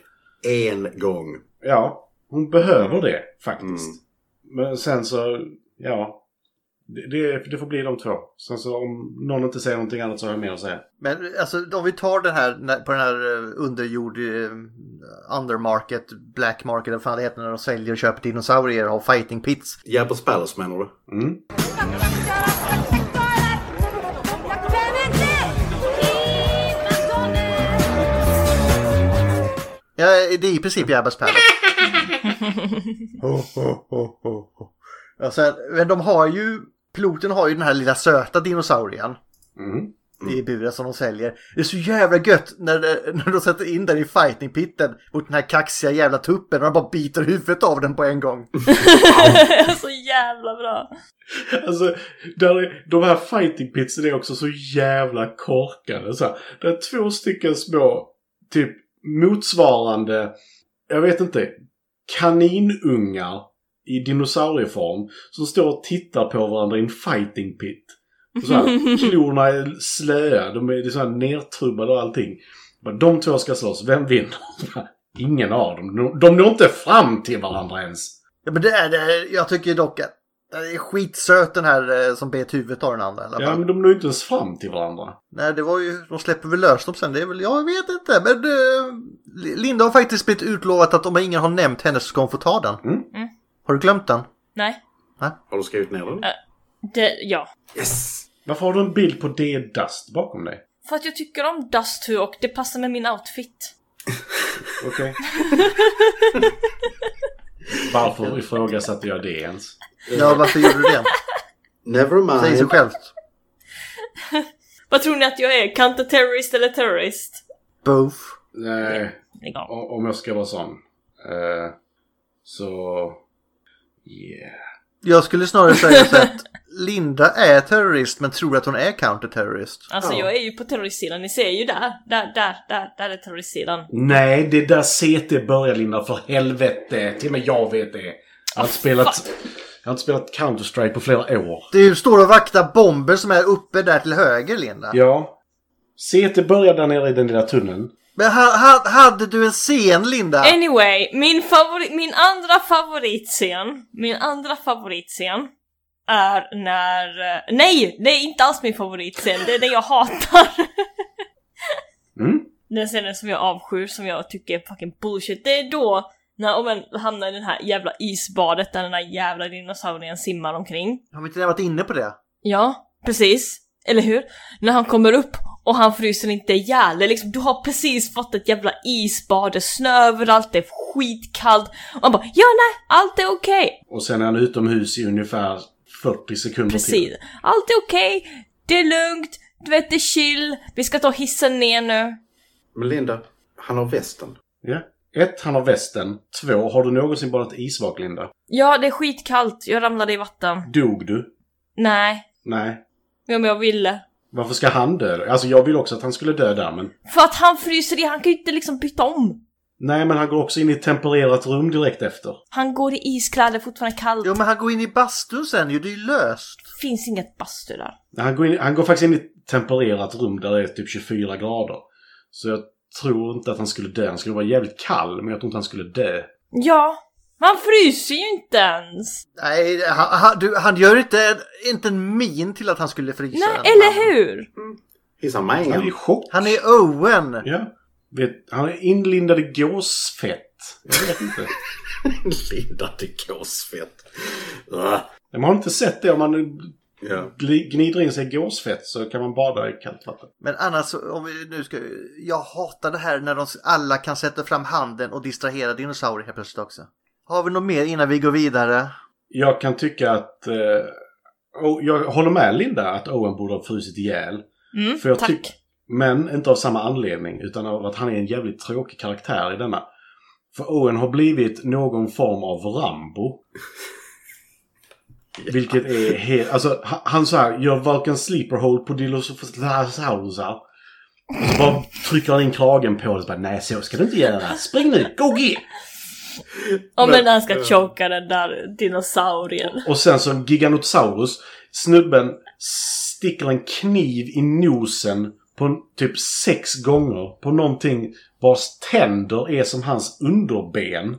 En gång. Ja, hon behöver det faktiskt. Mm. Men sen så, ja. Det, det, det får bli de två. Sen så om någon inte säger någonting annat så har jag mer att säga. Men alltså om vi tar den här när- på den här eh, underjord, eh, undermarket, black market, vad fan det heter när de säljer och köper dinosaurier och har fighting pits. Jävla Palace menar du? Mm. Ja, det är i princip Jabba's Palace. Ho, ho, ho, ho, ho. Alltså, men de har ju, piloten har ju den här lilla söta dinosaurien. Mm. I buren som de säljer. Det är så jävla gött när, det- när de sätter in den i fighting pitten mot den här kaxiga jävla tuppen och de bara biter huvudet av den på en gång. så jävla bra. Alltså, där är, de här fighting pitsen är också så jävla korkade. Så här, det är två stycken små, typ motsvarande, jag vet inte, kaninungar i dinosaurieform som står och tittar på varandra i en fighting pit. Och så här, klorna är slöa, de är, det är så här nertrubbade och allting. Bara, de två ska slåss, vem vinner? Ingen av dem. De, de når inte fram till varandra ens. Ja, men det är, det är, jag tycker dock att det är skitsöt den här eh, som bet huvudet av den andra. i alla Ja, fall. men de når inte ens fram till varandra. Nej, det var ju, de släpper väl lös dem sen. Det är väl, jag vet inte. Men eh, Linda har faktiskt blivit utlovat att om ingen har nämnt henne så ska hon få ta den. Mm. Har du glömt den? Nej. Har du skrivit ner den? Det, ja. Yes! Varför har du en bild på det Dust bakom dig? För att jag tycker om Dust Who och det passar med min outfit. Okej. Varför ifrågasatte jag det ens? Ja, varför gjorde du det? Nevermind. Säg sig självt. Vad tror ni att jag är? Counterterrorist eller terrorist? Both. Nej. o- Om jag ska vara sån. eh, så... Yeah. Jag skulle snarare säga så att Linda är terrorist men tror att hon är counterterrorist. Alltså jag är ju på terroristsidan, ni ser ju där. Där, där, där, där är terroristsidan. Nej, det där CT börjar Linda, för helvete. Till och med jag vet det. Jag har inte spelat, jag har inte spelat Counter-Strike på flera år. Du står och vaktar bomber som är uppe där till höger, Linda. Ja. CT börjar där nere i den lilla tunneln. Men ha, ha, hade du en scen, Linda? Anyway, min, favori- min andra favoritscen, min andra favoritscen är när... eh, Nej! Det är inte alls min favoritscen, det är den jag hatar. Mm. Den scenen som jag avskyr, som jag tycker är fucking bullshit, det är då när Owen hamnar i det här jävla isbadet där den där jävla dinosaurien simmar omkring. Har vi inte redan varit inne på det? Ja, precis. Eller hur? När han kommer upp och han fryser inte ihjäl det är liksom, du har precis fått ett jävla isbad, det är snö överallt, det är skitkallt. Och han bara ja nej, allt är okej. Och sen är han utomhus i ungefär 40 sekunder Precis. till. Allt är okej, det är lugnt, du vet det är chill, vi ska ta hissen ner nu. Men Linda, han har västen. Ja. Ett, han har västen. Två, har du någonsin badat isvak, Linda? Ja, det är skitkallt, jag ramlade i vatten. Dog du? Nej, Nej. ja, men jag ville. Varför ska han dö då? Alltså, jag vill också att han skulle dö där, men... För att han fryser i, han kan ju inte liksom byta om. Nej, men han går också in i ett tempererat rum direkt efter. Han går i iskläder, fortfarande kallt. Jo men han går in i bastun sen ju, det är ju löst. Finns inget bastu där. Han går, in, han går faktiskt in i ett tempererat rum där det är typ 24 grader. Så jag tror inte att han skulle dö. Han skulle vara jävligt kall, men jag tror inte han skulle dö. Ja, man fryser ju inte ens. Nej, han, han, du, han gör inte, inte en min till att han skulle frysa. Nej, eller hur? He's a man. Han är i chock. Han är Owen! Ja. Vet, han är inlindad i gåsfett. Jag vet inte. Linda, det gåsfett. Men man har inte sett det. Om man Ja. gli- gnider in sig i gåsfett så kan man bada i kallt vatten. Men annars, om vi nu ska... Jag hatar det här när de alla kan sätta fram handen och distrahera dinosaurier helt plötsligt också. Har vi något mer innan vi går vidare? Jag kan tycka att... Eh, oh, jag håller med Linda att Owen borde ha frusit ihjäl. Mm, För jag tack. tyck- men inte av samma anledning, utan av att han är en jävligt tråkig karaktär i denna. För Owen har blivit någon form av Rambo. Vilket är helt... Alltså, ha- han så här, gör varken sleeper hold på dinosaurusar. Och så bara trycker han in kragen på det och bara nej så ska du inte göra. Spring nu, go get! Om Men- men han ska choka den där dinosaurien. Och sen som Giganotosaurus, snubben sticker en kniv i nosen på en- typ sex gånger på någonting vars tänder är som hans underben.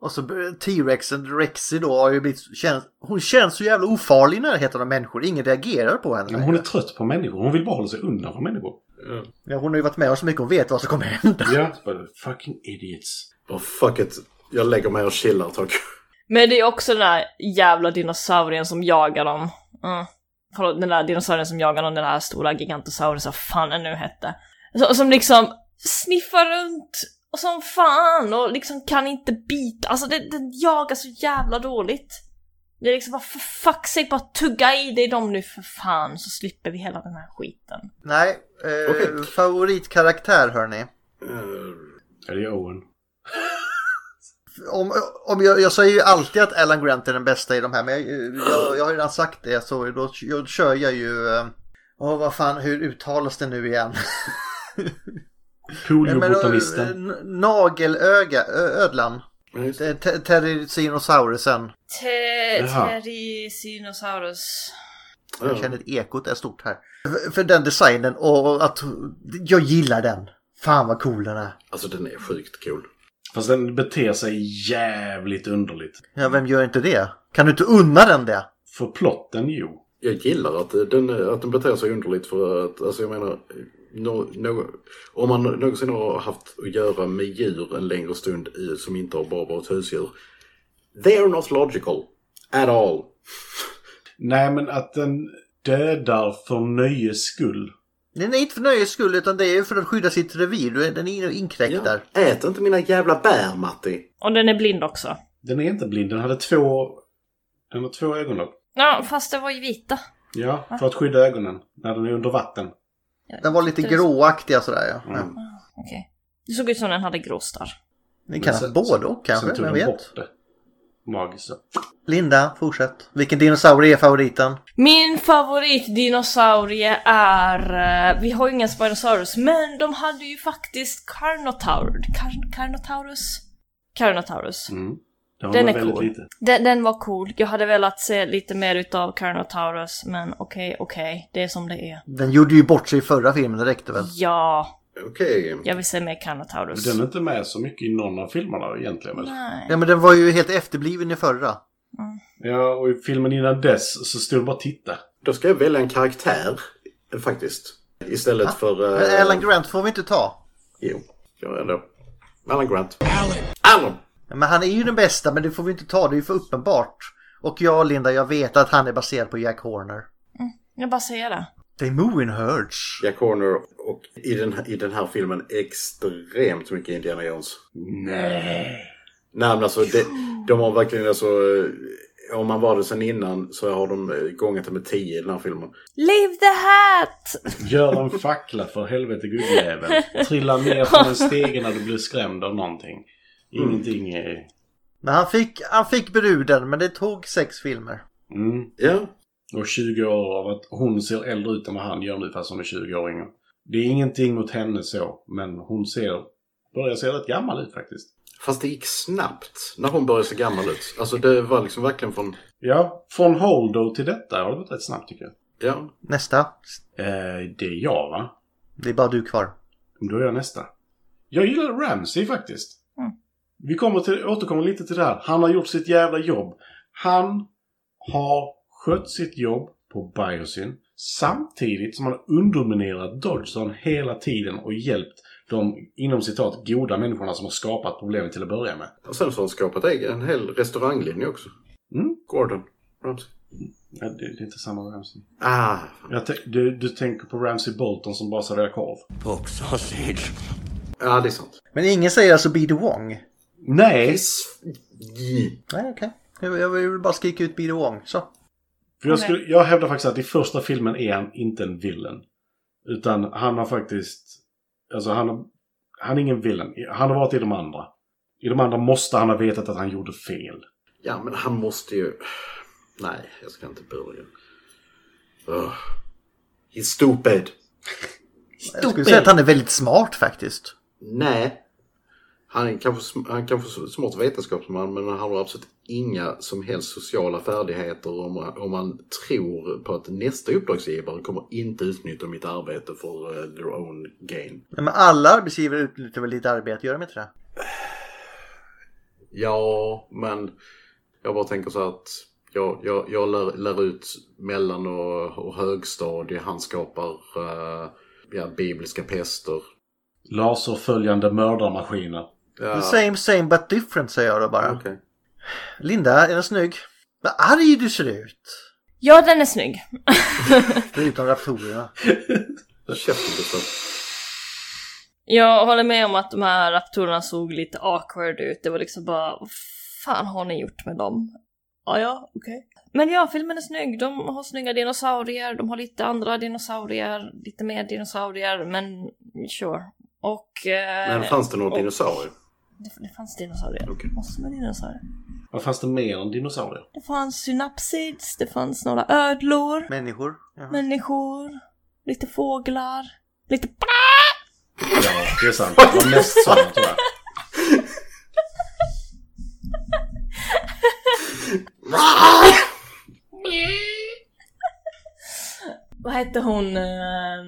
Och så bör- T-rexen, Rexy då, har ju blivit... Känns, hon känns så jävla ofarlig i närheten av människor. Ingen reagerar på henne. Men hon är trött på människor. Hon vill bara hålla sig undan från människor. Ja, hon har ju varit med om så mycket, hon vet vad som kommer hända. Ja. But fucking idiots. Oh, fuck it. Jag lägger mig och chillar ett tag. Men det är också den där jävla dinosaurien som jagar dem. Mm. Förlåt, den där dinosaurien som jagar dem, den där stora gigantosaurusen, vad fan den nu hette. Så, som liksom sniffar runt och som fan och liksom kan inte bita. Alltså den, den jagar så jävla dåligt. Det är liksom bara för fuck sake, bara tugga i dig dem nu för fan så slipper vi hela den här skiten. Nej, eh, favoritkaraktär hörni. Är det Owen? Om, om jag, jag säger ju alltid att Alan Grant är den bästa i de här, men jag, jag, jag har ju redan sagt det så då jag, kör jag ju... eh, Åh, vad fan, hur uttalas det nu igen? Poliobotanisten. Men, eh, n- Nagelöga, ö- ödlan. Te- te- Pterosaurusen. Te- Jaha. Terisinosaurus. Jag känner att ekot är stort här. För- För den designen och att jag gillar den. Fan vad cool den är. Alltså den är sjukt cool. Fast den beter sig jävligt underligt. Ja, vem gör inte det? Kan du inte unna den det? För plotten, jo. Jag gillar att eh, den, att den beter sig underligt för att, alltså jag menar, no, no, om man någonsin har haft att göra med djur en längre stund i, som inte har bara varit husdjur. They are not logical. At all. Nej, men att den dödar för nöjes skull. Den är inte för nöjes skull utan det är för att skydda sitt revir. Du är- Den är inne och inkräktar. Ät inte mina jävla bär, Matti. Och den är blind också. Den är inte blind, den hade två... Den har två ögonlock. Ja, fast det var ju vita. Ja, för att skydda ögonen när den är under vatten. Den var lite gråaktiga sådär ja. Mm. Okej. Det såg ut som den hade gråstarr. Det kan Men sen- både och sen- kanske, Sen tog vem de vet? bort det. Magiskt. så. Linda, fortsätt. Vilken dinosaurie är favoriten? Min favoritdinosaurie är... eh, Vi har ju ingen Spinosaurus, men de hade ju faktiskt Carnotaur. Car- Carnotaurus? Carnotaurus. Mm. Det Den var är väldigt cool. lite. Den, den var cool. Jag hade velat se lite mer utav Carnotaurus, men okej, okej. Det är som det är. Den gjorde ju bort sig i förra filmen, det räckte väl? Ja, Okej. jag vill se mer Carnotaurus. Den är inte med så mycket i någon av filmerna egentligen väl? Nej. Ja men den var ju helt efterbliven i förra. Ja, och i filmen innan dess så stod det bara titta. Då ska jag välja en karaktär, eh, faktiskt. Istället för... Men eh, Alan Grant får vi inte ta. Jo, gör jag då. Alan Grant. Alan! Alan! Men han är ju den bästa men det får vi inte ta, det är ju för uppenbart. Och jag Linda, jag vet att han är baserad på Jack Horner. Jag bara säger det. They move in herds. Jack Horner och i den, i den här filmen extremt mycket Indiana Jones. Nej. Nej men alltså det, de har verkligen alltså... eh, Om man var det sen innan så har de eh, gångat det med 10 i den här filmen. Leave the hat! Gör en fackla för helvete gubgjävel. Trilla ner från en stege när du blir skrämd av någonting. Mm. Ingenting är... Men han fick, han fick bruden men det tog sex filmer. Mm. Ja. Och 20 år av att hon ser äldre ut än vad han gör nu fast hon är 20-åring. Det är ingenting mot henne så, men hon ser... Börjar se rätt gammal ut faktiskt. Fast det gick snabbt när hon började se gammal ut. Alltså det var liksom verkligen från... Ja, från Holdo till detta har det gått rätt snabbt tycker jag. Ja. Nästa. Eh, det är jag va? Det är bara du kvar. Då är jag nästa. Jag gillar Ramsey faktiskt. Mm. Vi kommer till, återkommer lite till det här. Han har gjort sitt jävla jobb. Han har skött sitt jobb på Biosyn samtidigt som han har underminerat Dodgson hela tiden och hjälpt de inom citat goda människorna som har skapat problemet till att börja med. Och sen så har han skapat egen- en hel restauranglinje också. Mm. Gordon Ramsay. Ja, det, det är inte samma Ramsey. Ah, Jag tän- du, du tänker på Ramsey Bolton som bara serverar korv. Pork sausage. Ja, det är sant. Men ingen säger alltså B.D. Wong? Nej! Nej, okej. Jag, jag vill bara skrika ut B.D. Wong, så. För jag, Nej. skulle, jag hävdar faktiskt att i första filmen är han inte en villain. Utan han har faktiskt... Alltså han, har, han är ingen villain. Han har varit i de andra. I de andra måste han ha vetat att han gjorde fel. Ja, men han måste ju... Nej, jag ska inte börja. Ugh. He's stupid. Jag skulle säga att han är väldigt smart faktiskt. Nej. Han är kanske, sm- han kanske är smart vetenskapsman men han har absolut inga som helst sociala färdigheter om, om man tror på att nästa uppdragsgivare kommer inte utnyttja mitt arbete för eh, their own gain. Nej, Men alla arbetsgivare utnyttjar väl lite arbete, gör de inte det? Ja, men jag bara tänker så här att jag, jag, jag lär, lär ut mellan och, och högstadie. Han skapar eh, ja, bibliska pester. Laserföljande mördarmaskiner. Ja, The same same but different säger jag då bara. okej. Linda, är den snygg? Vad arg du ser ut! Ja, den är snygg. Förutom raptorerna. Käften, Gustav. Jag håller med om att de här raptorerna såg lite awkward ut. Det var liksom bara, vad fan har ni gjort med dem? Ja, ja, okej. Men ja, filmen är snygg. De har snygga dinosaurier, de har lite andra dinosaurier, lite mer dinosaurier, men sure. Och... Eh, Men fanns det några och- dinosaurier? Det, det fanns dinosaurier. Okej. Massor med dinosaurier. Vad fanns det mer än dinosaurier? Det fanns synapsids, det fanns några ödlor, Människor. Jaha. människor, lite fåglar, lite... Ja, det är sant. Det var mest sådana tror jag. Vad hette hon? ehm,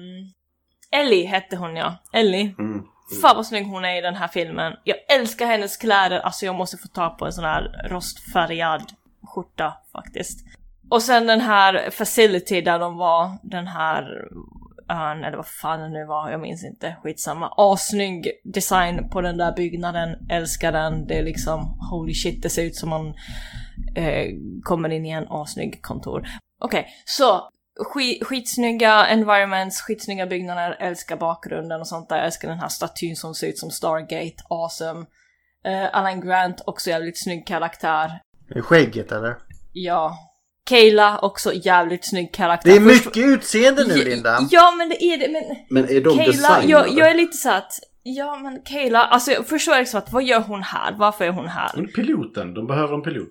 Ellie hette hon ja. Ellie. Mm. Fan vad snygg hon är i den här filmen. Jag älskar hennes kläder, alltså jag måste få ta på en sån här rostfärgad skjorta faktiskt. Och sen den här facility där de var, den här ön, eller vad fan det nu var, jag minns inte, skitsamma. Assnygg design på den där byggnaden, älskar den. Det är liksom holy shit, det ser ut som man eh, kommer in i en assnygg kontor. Okej, så ski- skitsnygga environments, skitsnygga byggnader, älskar bakgrunden och sånt där. Jag älskar den här statyn som ser ut som Stargate, awesome. Eh, Alan Grant, också jävligt snygg karaktär. Skägget eller? Ja. Kayla, också jävligt snygg karaktär. Det är Först- mycket utseende nu Ja, Linda. Ja, men det är det. Men, Men är de Kayla, designade? jag, jag är lite så att Ja men Kayla, alltså jag förstår liksom att vad gör hon här? Varför är hon här? Men piloten, de behöver en pilot.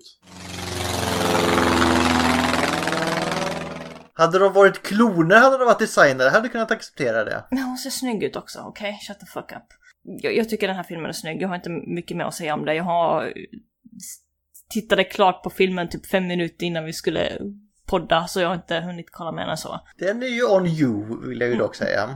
Hade de varit kloner hade de varit designare. Hade du kunnat acceptera det? Men hon ser snygg ut också, okej? Shut the fuck up. Jag, jag tycker den här filmen är snygg, jag har inte mycket mer att säga om det. Jag har... Tittade klart på filmen typ fem minuter innan vi skulle podda, så jag har inte hunnit kolla mer än så. Den är ju on you vill jag ju dock säga.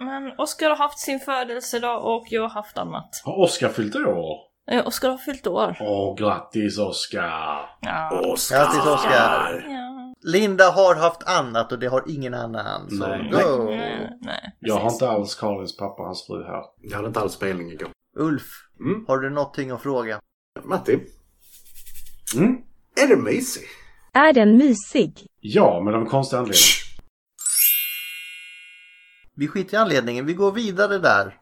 Men Oscar har haft sin födelsedag och jag har haft annat. Har Oscar fyllt år? Eh, Oscar har fyllt år. Åh, grattis Oscar! Ja. Oscar! Grattis, Oscar. Ja. Linda har haft annat och det har ingen annan. Så Nej. go! Nej, nej. Mm. Jag har inte alls Karins pappa och hans fru här. Jag hade inte alls spelning igår. Ulf, har du någonting att fråga? Matti? Mm? Är det mysig? Är den mysig? Ja, men av en konstig anledning. Vi skiter i anledningen, vi går vidare där.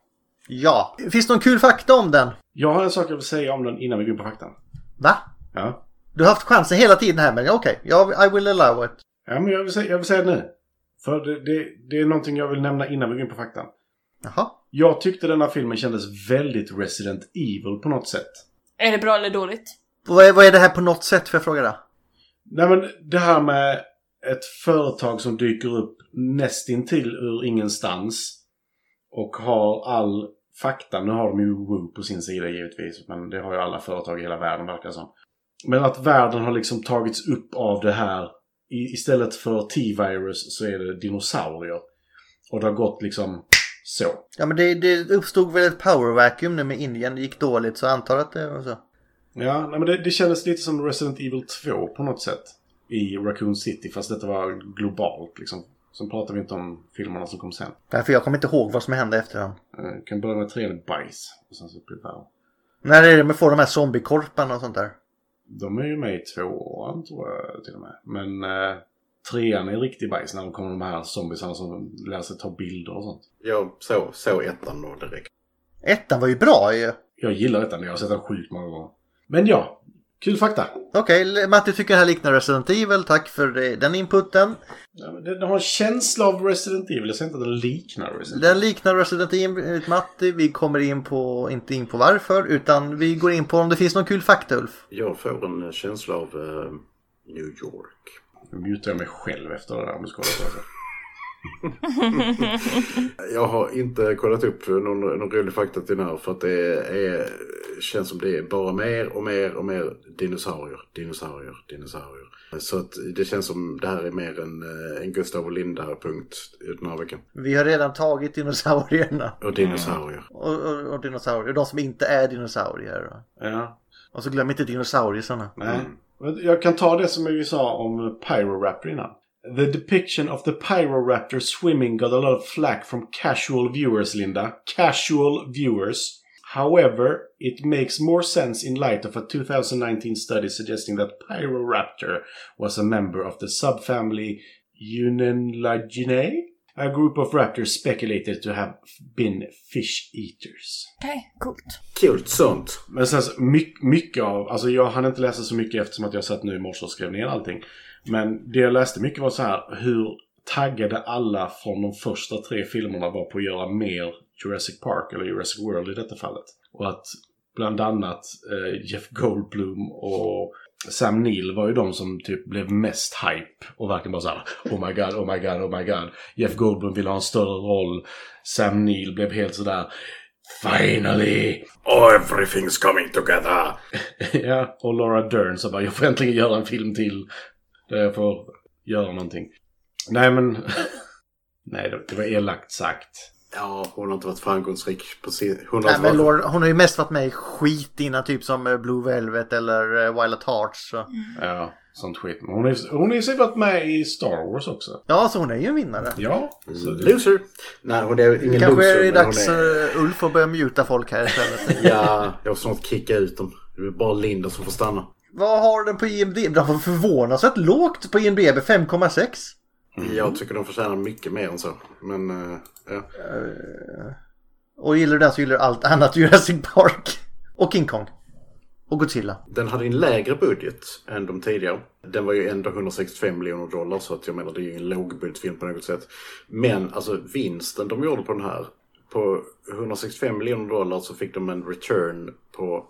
Ja. Finns det någon kul fakta om den? Jag har en sak jag vill säga om den innan vi går in på faktan. Va? Ja. Du har haft chansen hela tiden här men okej, jag I will allow it. Ja, men jag vill säga, jag vill säga det nu. För det, det, det är någonting jag vill nämna innan vi går in på faktan. Jaha. Jag tyckte denna filmen kändes väldigt Resident Evil på något sätt. Är det bra eller dåligt? Vad är, vad är det här på något sätt för jag fråga det? Nej men det här med ett företag som dyker upp nästintill ur ingenstans och har all fakta. Nu har de ju Woo på sin sida givetvis, men det har ju alla företag i hela världen verkar det som. Men att världen har liksom tagits upp av det här. I, istället för T-virus så är det dinosaurier. Och det har gått liksom så. Ja men det, det uppstod väl ett power vacuum nu med Indien, det gick dåligt så jag antar att det var så. Ja, nej, men det, det kändes lite som Resident Evil 2 på något sätt. I Raccoon City, fast detta var globalt liksom. Sen pratar vi inte om filmerna som kom sen. Därför jag kommer inte ihåg vad som hände efter den. Eh, kan börja med trean bajs. Och sen så blir det värre. När är det man får de här zombiekorparna och sånt där? De är ju med i tvåan tror jag till och med. Men eh, trean är riktig bajs när de kommer de här zombiesarna som lär sig ta bilder och sånt. Jag såg så ettan då direkt. Ettan var ju bra ju. Jag gillar ettan, jag har sett den sjukt många gånger. Men ja, kul fakta. Okej, Matti tycker det här liknar Resident Evil. Tack för eh, den inputen. Ja, men Den den har en känsla av Resident Evil, jag säger inte att den liknar Resident Den liknar Resident Evil, Matti. Vi kommer in på, inte in på varför, utan vi går in på om det finns någon kul fakta, Ulf. Jag får en eh, känsla av eh, New York. Nu mutar jag mig själv efter det där om du ska hålla på. Jag har inte kollat upp någon, någon rolig fakta till den här för att det är, känns som det är bara mer och mer och mer dinosaurier, dinosaurier, dinosaurier. Så att det känns som det här är mer en, eh, en Gustav och Linda-punkt den här veckan. Vi har redan tagit dinosaurierna. Och dinosaurier. Och, och, och dinosaurier. De som inte är dinosaurier. Ja. Och så glöm inte dinosaurierna. Nej. Mm. Men Jag kan ta det som vi sa om Pyroraptor innan. The depiction of the Pyroraptor swimming got a lot of flack from casual viewers, Linda. Casual viewers. However, it makes more sense in light of a 2019 study suggesting that Pyroraptor was a member of the subfamily Unenlaginae, a group of raptors speculated to have been fish eaters. Okej, coolt. Kul sånt. Men sen så, mycket, mycket av, alltså jag hann inte läsa så mycket eftersom att jag satt nu i morse och skrev ner allting. Men det jag läste mycket var så här hur taggade alla från de första tre filmerna var på att göra mer Jurassic Park, eller Jurassic World i detta fallet. Och att bland annat eh, Jeff Goldblum och Sam Neill var ju de som typ blev mest hype och verkligen bara såhär Oh my god, oh my god, oh my god. Jeff Goldblum ville ha en större roll. Sam Neill blev helt sådär Finally! Oh, everything's coming together! ja, och Laura Dern så bara jag får äntligen göra en film till. Där jag får göra någonting. Nej men... Nej, det- det var elakt sagt. Ja, hon har inte varit framgångsrik på sin... Hon har Nej, inte men varit... Laura, hon har ju mest varit med i skit innan, typ som eh, Blue Velvet eller eh, Wild at Hearts. Så. Ja, sånt skit. Men hon har- hon har ju sig varit med i Star Wars också. Ja, så hon är ju en vinnare. Ja. Mm. Loser! Nej, hon är ingen Kanske är loser. det men dags hon är... eh, Ulf att börja muta folk här istället. Ja, jag får snart kicka ut dem. Det är bara Linda som får stanna. Vad har den på IMDB? Den var förvånansvärt lågt på IMDB, 5,6. Jag tycker de förtjänar mycket mer än så. Men, eh, ja. Och gillar du den så gillar du allt annat Jurassic Park. Och King Kong. Och Godzilla. Den hade en lägre budget än de tidigare. Den var ju ändå 165 miljoner dollar så att jag menar det är ju en lågbudgetfilm på något sätt. Men alltså vinsten de gjorde på den här. På 165 miljoner dollar så fick de en return på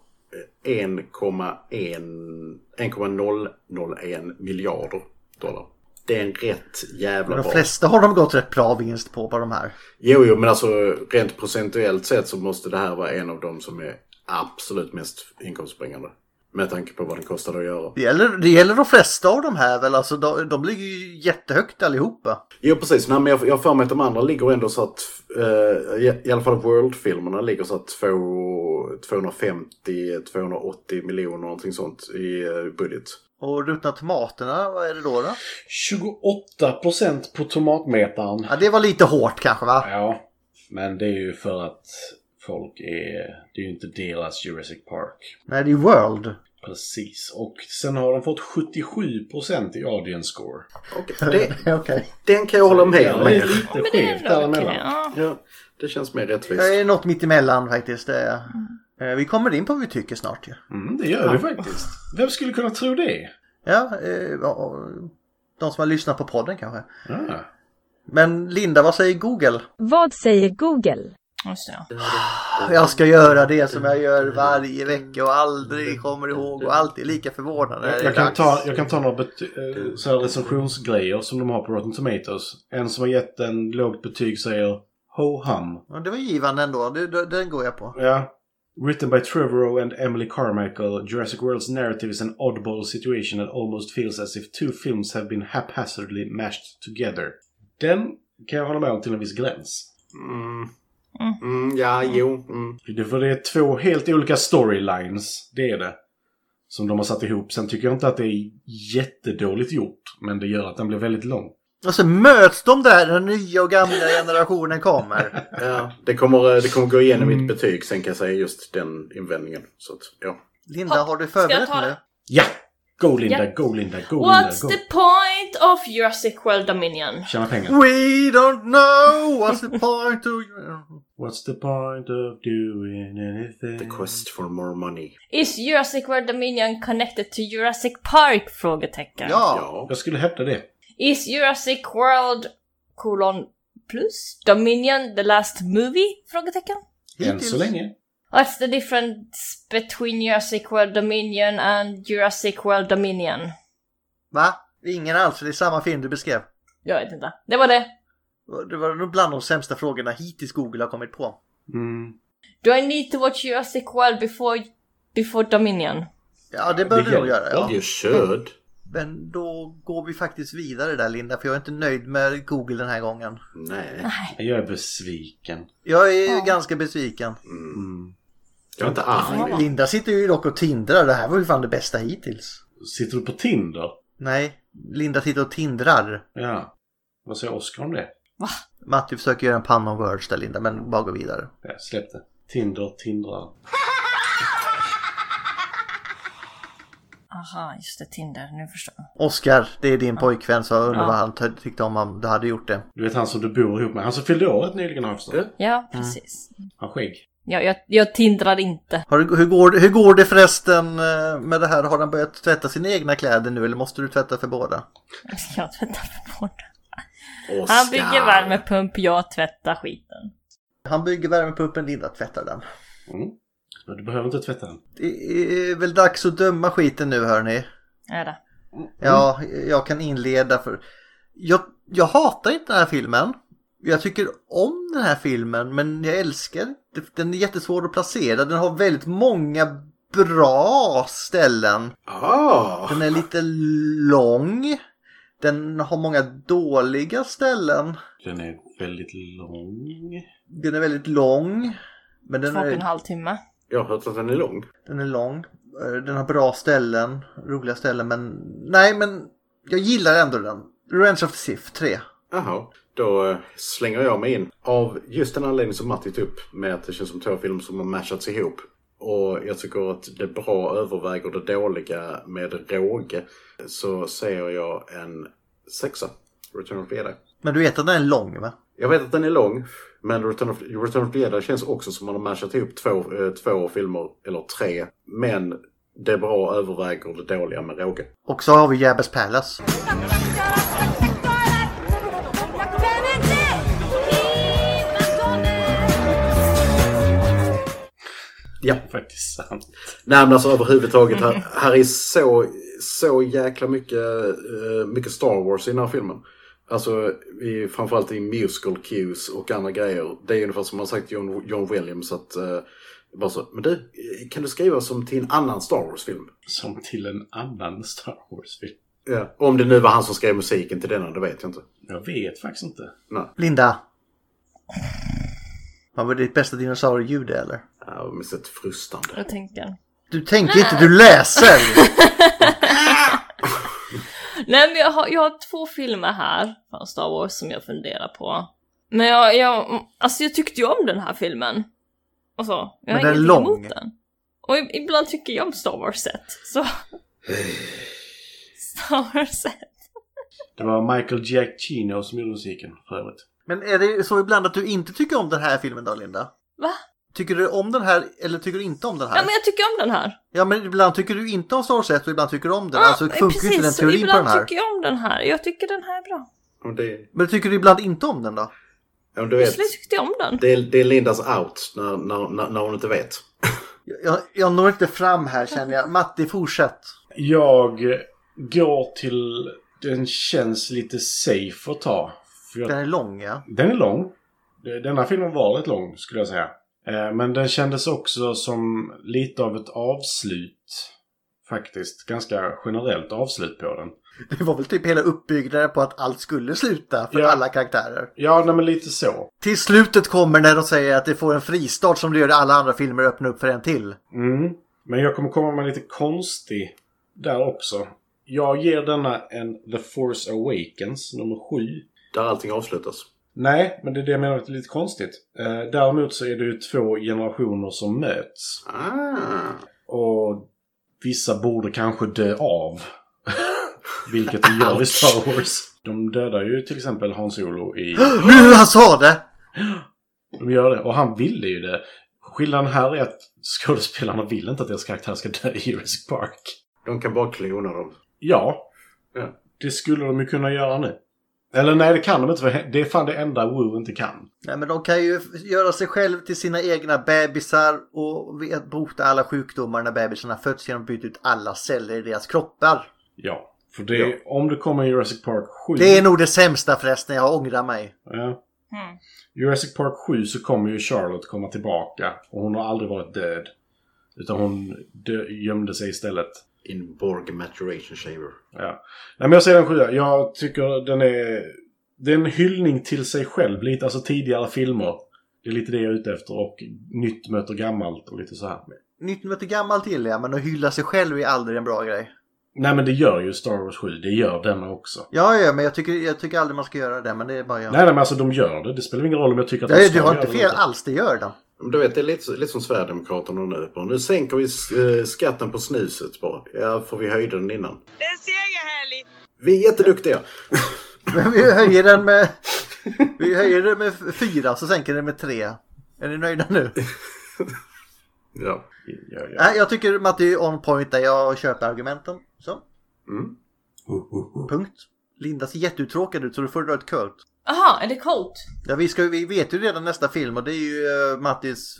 eh, 1,1 1,001 miljarder dollar. Det är en rätt jävla De bra flesta har de gått rätt bra vinst på, på de här. Jo, jo, men alltså rent procentuellt sett så måste det här vara en av de som är absolut mest inkomstbringande. Med tanke på vad den kostade att göra. Det gäller, det gäller de flesta av de här väl, alltså de, de ligger ju jättehögt allihopa. Jo, precis. Nej, men jag, jag har för mig att de andra ligger ändå så att, eh, i, i alla fall World-filmerna ligger så att två- 250-280 miljoner någonting sånt i eh, budget. Och ruttna tomaterna, vad är det då? då? 28% på tomatmetaren. Ja, det var lite hårt kanske va? Ja, men det är ju för att folk är... Det är ju inte deras Jurassic Park. Nej, det är World. Precis. Och sen har de fått 77% i audience score. Det- Okej. Den kan jag hålla med om. Ja, det är lite Men skevt det är ändå däremellan. Ja, det känns mer rättvist. Det är något mitt emellan faktiskt. Det är. Eh, Vi kommer in på vad vi tycker snart ju. Mm, det gör vi faktiskt. Vem skulle kunna tro det? Ja, eh, ja, de som har lyssnat på podden kanske. Ah. Men Linda, vad säger Google? Vad säger Google? Jag ska göra det som jag gör Mm. varje vecka och aldrig kommer ihåg och alltid är lika förvånad. när det är Jag kan, dags. ta, jag kan ta några bety- eh, så här recensionsgrejer som de har på Rotten Tomatoes. En som har gett en lågt betyg säger Ho hum. Ja, det var givande ändå. Det, det, den går jag på. Ja. Written by Trevorrow and Emily Carmichael, Jurassic World's narrative is an oddball situation that almost feels as if two films have been haphazardly mashed together. Den kan jag hålla med om till en viss gräns. Mm. Mm, ja, jo. Mm. Det- För det är två helt olika storylines, det är det. Som de har satt ihop. Sen tycker jag inte att det är jättedåligt gjort, men det gör att den blir väldigt lång. Och så möts de där, den nya och gamla generationen kommer. Ja, det, kommer, eh, det kommer gå igenom Mm. mitt betyg sen kan jag säga just den invändningen. Så att, ja. Eh. Linda, har du förberett Ska jag ta nu? Ja! Go Linda, Ja. go Linda, go What's Linda, the go! point of Jurassic World Dominion? Tjäna pengar. We don't know what's the point of... What's the point of doing anything? The quest for more money. Is Jurassic World Dominion connected to Jurassic Park? Frågetecken. Ja. Jag skulle hävda det. Is Jurassic World colon plus Dominion the last movie? Frågetecken. Än så länge. What's the difference between Jurassic World Dominion and Jurassic World Dominion? Va? Ingen alls, det är samma film du beskrev. Jag vet inte. Det var det. Det var nog bland de sämsta frågorna hittills Google har kommit på. Mm. Do I need to watch Jurassic World before, before Dominion? Ja, det bör Det du nog göra. hjälper. Ja. You should. Men då går vi faktiskt vidare där Linda, för jag är inte nöjd med Google den här gången. Nej. Jag är besviken. Jag är ganska besviken. Mm. Jag är inte arg. Linda sitter ju dock och tindrar. Det här var ju fan det bästa hittills. Sitter du på Tinder? Nej, Linda sitter och tindrar. Ja. Vad säger Oskar om det? Matti försöker göra en panna av words där Linda, men bara gå vidare. Ja, släpp det. Tinder, Tindrar. Aha, just det. Tinder. Nu förstår jag. Oskar, det är din pojkvän, så jag undrar Ja. vad han ty- tyckte om om du hade gjort det. Du vet han som du bor ihop med. Han som fyllde år rätt nyligen har jag förstått. Ja, precis. Han skägg. Ja, jag, jag tindrar inte. Har, du- hur, går, det- hur går det förresten eh, med det här? Har han börjat tvätta sina egna kläder nu eller måste du tvätta för båda? Jag tvättar för hårt. Oscar. Han bygger värmepump, jag tvättar skiten. Han bygger värmepumpen, Linda tvättar den. Mm. Men Du behöver inte tvätta den. Det är väl dags att döma skiten nu hörni. Är det? Ja, Mm. jag kan inleda för... Jag, jag hatar inte den här filmen. Jag tycker om den här filmen, men jag älskar den. Den är jättesvår att placera. Den har väldigt många bra ställen. Ah. Den är lite lång. Den har många dåliga ställen. Den är väldigt lång. Den är väldigt lång. Men den Två och en är, halv timme. Jag har hört att den är lång. den är lång. Eh, Den har bra ställen, roliga ställen, men nej, men jag gillar ändå den. Revenge of the Sith 3. Jaha. Då eh, typ, slänger jag mig in. Av just den anledning som Matti tog upp med att det känns som två filmer som har matchats ihop. Och jag tycker att det bra överväger det dåliga med råge. Så ser jag en sexa. Return of the Jedi. Men du vet att den är lång va? Jag vet att den är lång. Men Return of, Return of the Jedi känns också som man har mashat ihop två, eh, två filmer, eller tre. Men det bra överväger det dåliga med råge. Och så har vi Jabbes Palace. Ja. Faktiskt sant. Nej men alltså överhuvudtaget, här, här är så, så jäkla mycket, eh, mycket Star Wars i den här filmen. Alltså i, framförallt i musical cues och andra grejer. Det är ungefär som man sagt John, John Williams att eh, bara så, men du, kan du skriva som till en annan Star Wars-film? Som till en annan Star Wars-film? Ja, om det nu var han som skrev musiken till denna, det vet jag inte. Jag vet faktiskt inte. Nej. Linda. Vad var ditt bästa dinosaurieljud eller? Ja, men så ett frustande. Jag tänker. Du tänker inte, du läser! Nej men jag har, jag har två filmer här från Star Wars som jag funderar på. Men jag, jag, alltså jag tyckte ju om den här filmen. Och så. Jag Men har den är ingenting lång. emot den. Och i- ibland tycker jag om Star Wars-set, så... Star Wars-set. Det var Michael Giacchino som gjorde musiken för övrigt. Men är det så ibland att du inte tycker om den här filmen då Linda? Va? Tycker du om den här eller tycker du inte om den här? Ja men jag tycker om den här. Ja, men ibland tycker du inte om Star Wars 1 och ibland tycker du om den. Ja, alltså det funkar ju inte den precis, så teorin på den ibland här. tycker jag om den här. Jag tycker den här är bra. Men det, Men tycker du ibland inte om den då? ja, men du vet, Plötsligt tyckte jag om den. det, är- det är Lindas out när, när, när, när hon inte vet. Jag, jag når inte fram här känner jag. Matti, fortsätt. Jag eh, går till... Den känns lite safe att ta. För jag Den är lång ja. Den är lång. Denna filmen var rätt lång skulle jag säga. Eh, Men den kändes också som lite av ett avslut. Faktiskt. Ganska generellt avslut på den. Det var väl typ hela uppbyggnaden på att allt skulle sluta för alla karaktärer. Ja, nej, men lite så. Till slutet kommer när de säger att det får en fristart som det gör i alla andra filmer öppna upp för en till. Mm. Men jag kommer komma med lite konstig där också. Jag ger denna en The Force Awakens, nummer sju. Där allting avslutas. Nej, men det är det jag menar att det är lite konstigt. Eh, däremot så är det ju två generationer som möts. Ah. Och vissa borde kanske dö av. Vilket de gör i Star Wars. De dödar ju till exempel Han Solo i... nu han sa det! De gör det, och han ville ju det. Skillnaden här är att skådespelarna vill inte att deras karaktär ska dö i Jurassic Park. De kan bara klona dem. Ja. Ja. Det skulle de ju kunna göra nu. Eller nej, det kan de inte. För det är fan det enda Wu inte kan. Nej men de kan ju göra sig själv till sina egna bebisar och vet- bota alla sjukdomar när bebisarna föds genom att byta ut alla celler i deras kroppar. Ja. För det, om det kommer en Jurassic Park 7... Det är nog det sämsta förresten, jag ångrar mig. Ja. Jurassic Park 7 så kommer ju Charlotte komma tillbaka. Och hon har aldrig varit död. Utan hon dö- gömde sig istället. In Borg Maturation Chamber. Ja. Nej men jag säger den sjua. Jag tycker den är... Det är en hyllning till sig själv. Lite, alltså tidigare filmer. Det är lite det jag är ute efter. Och nytt möter gammalt och lite så här. Nytt möte gammalt gillar jag, men att hylla sig själv är aldrig en bra grej. Nej men det gör ju Star Wars 7. Det gör denna också. Ja, ja, men jag tycker, jag tycker aldrig man ska göra det, men det är bara jag. Nej, nej men alltså de gör det. Det spelar ingen roll om jag tycker att de Nej, ska du har göra inte det fel eller alls, det gör de. Men Du vet, det är lite, lite som Sverigedemokraterna nu. Bara, Nu sänker vi eh, skatten på snuset bara. Ja, för vi höjde den innan. Vi är jätteduktiga! Men vi höjer den med... Vi höjer den med fyra, så sänker den med tre. Är ni nöjda nu? Ja. Ja, ja. Nej, jag tycker Matti är on point där. Jag köper argumenten. Så, Mm. punkt. Linda ser jätteuttråkad ut, så du får dra ett kult. Aha, är det Colt? Ja, vi, ska, vi vet ju redan nästa film och det är ju eh, Mattis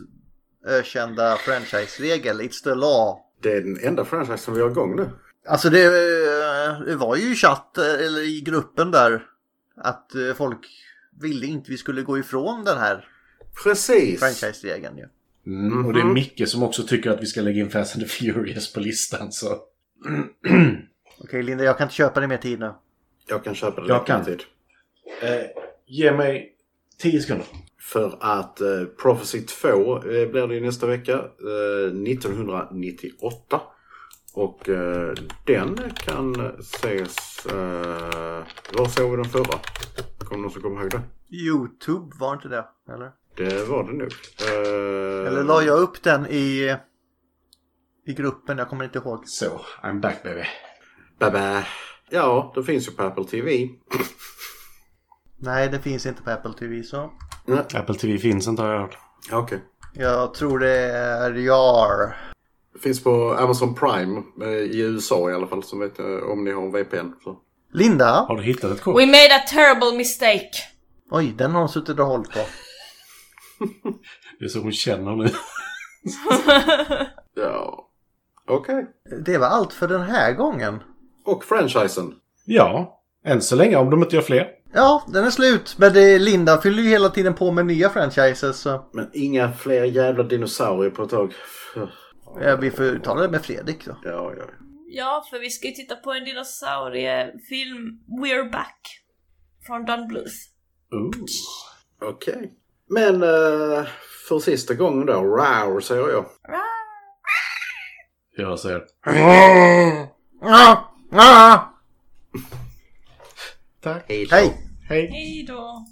ökända franchise-regel, It's the law. Det är den enda franchise som vi har igång nu. Alltså det, eh, det var ju i chatt, eh, eller i gruppen där, att eh, folk ville inte vi skulle gå ifrån den här Precis! franchise-regeln ju. Mm. Och det är Micke som också tycker att vi ska lägga in Fast and the Furious på listan så... Okej Linda, jag kan inte köpa dig mer tid nu. Jag kan köpa det Jag lite kan. tid. Eh, ge mig 10 sekunder. För att eh, Prophecy 2 eh, blir det ju nästa vecka. Eh, 1998. Och eh, den kan ses... Eh, var såg vi den förra? Kommer någon som kommer ihåg det? Youtube, var inte det? Eller? Det var det nog. Eh, Eller la jag upp den i I gruppen, jag kommer inte ihåg. Så, I'm back baby. Baba. Ja, det finns ju på Apple TV. Nej, det finns inte på Apple TV så. Apple TV finns inte har jag hört. Ja, Okej. Jag tror det är JAR. Det finns på Amazon Prime eh, i USA i alla fall. Så vet jag om ni har en VPN. Så. Linda? Har du hittat ett We made a terrible mistake. Oj, den har hon suttit och hållit på. Det är så hon känner nu. Ja. Okej. Det var allt för den här gången. Och franchisen. Ja, än så länge om de inte gör fler. Ja, den är slut. Men det, Linda fyller ju hela tiden på med nya franchises. Så. Men inga fler jävla dinosaurier på ett tag. Ja, vi får ta det med Fredrik då. Ja, ja. Ja, för vi ska ju titta på en dinosauriefilm, We're Back, från Don Bluth. Ooh. Okej. Men eh, för sista gången då. Rar säger jag. Jag säger. Ah, ah. Tack. Hej. Hej! Hej. Hej då!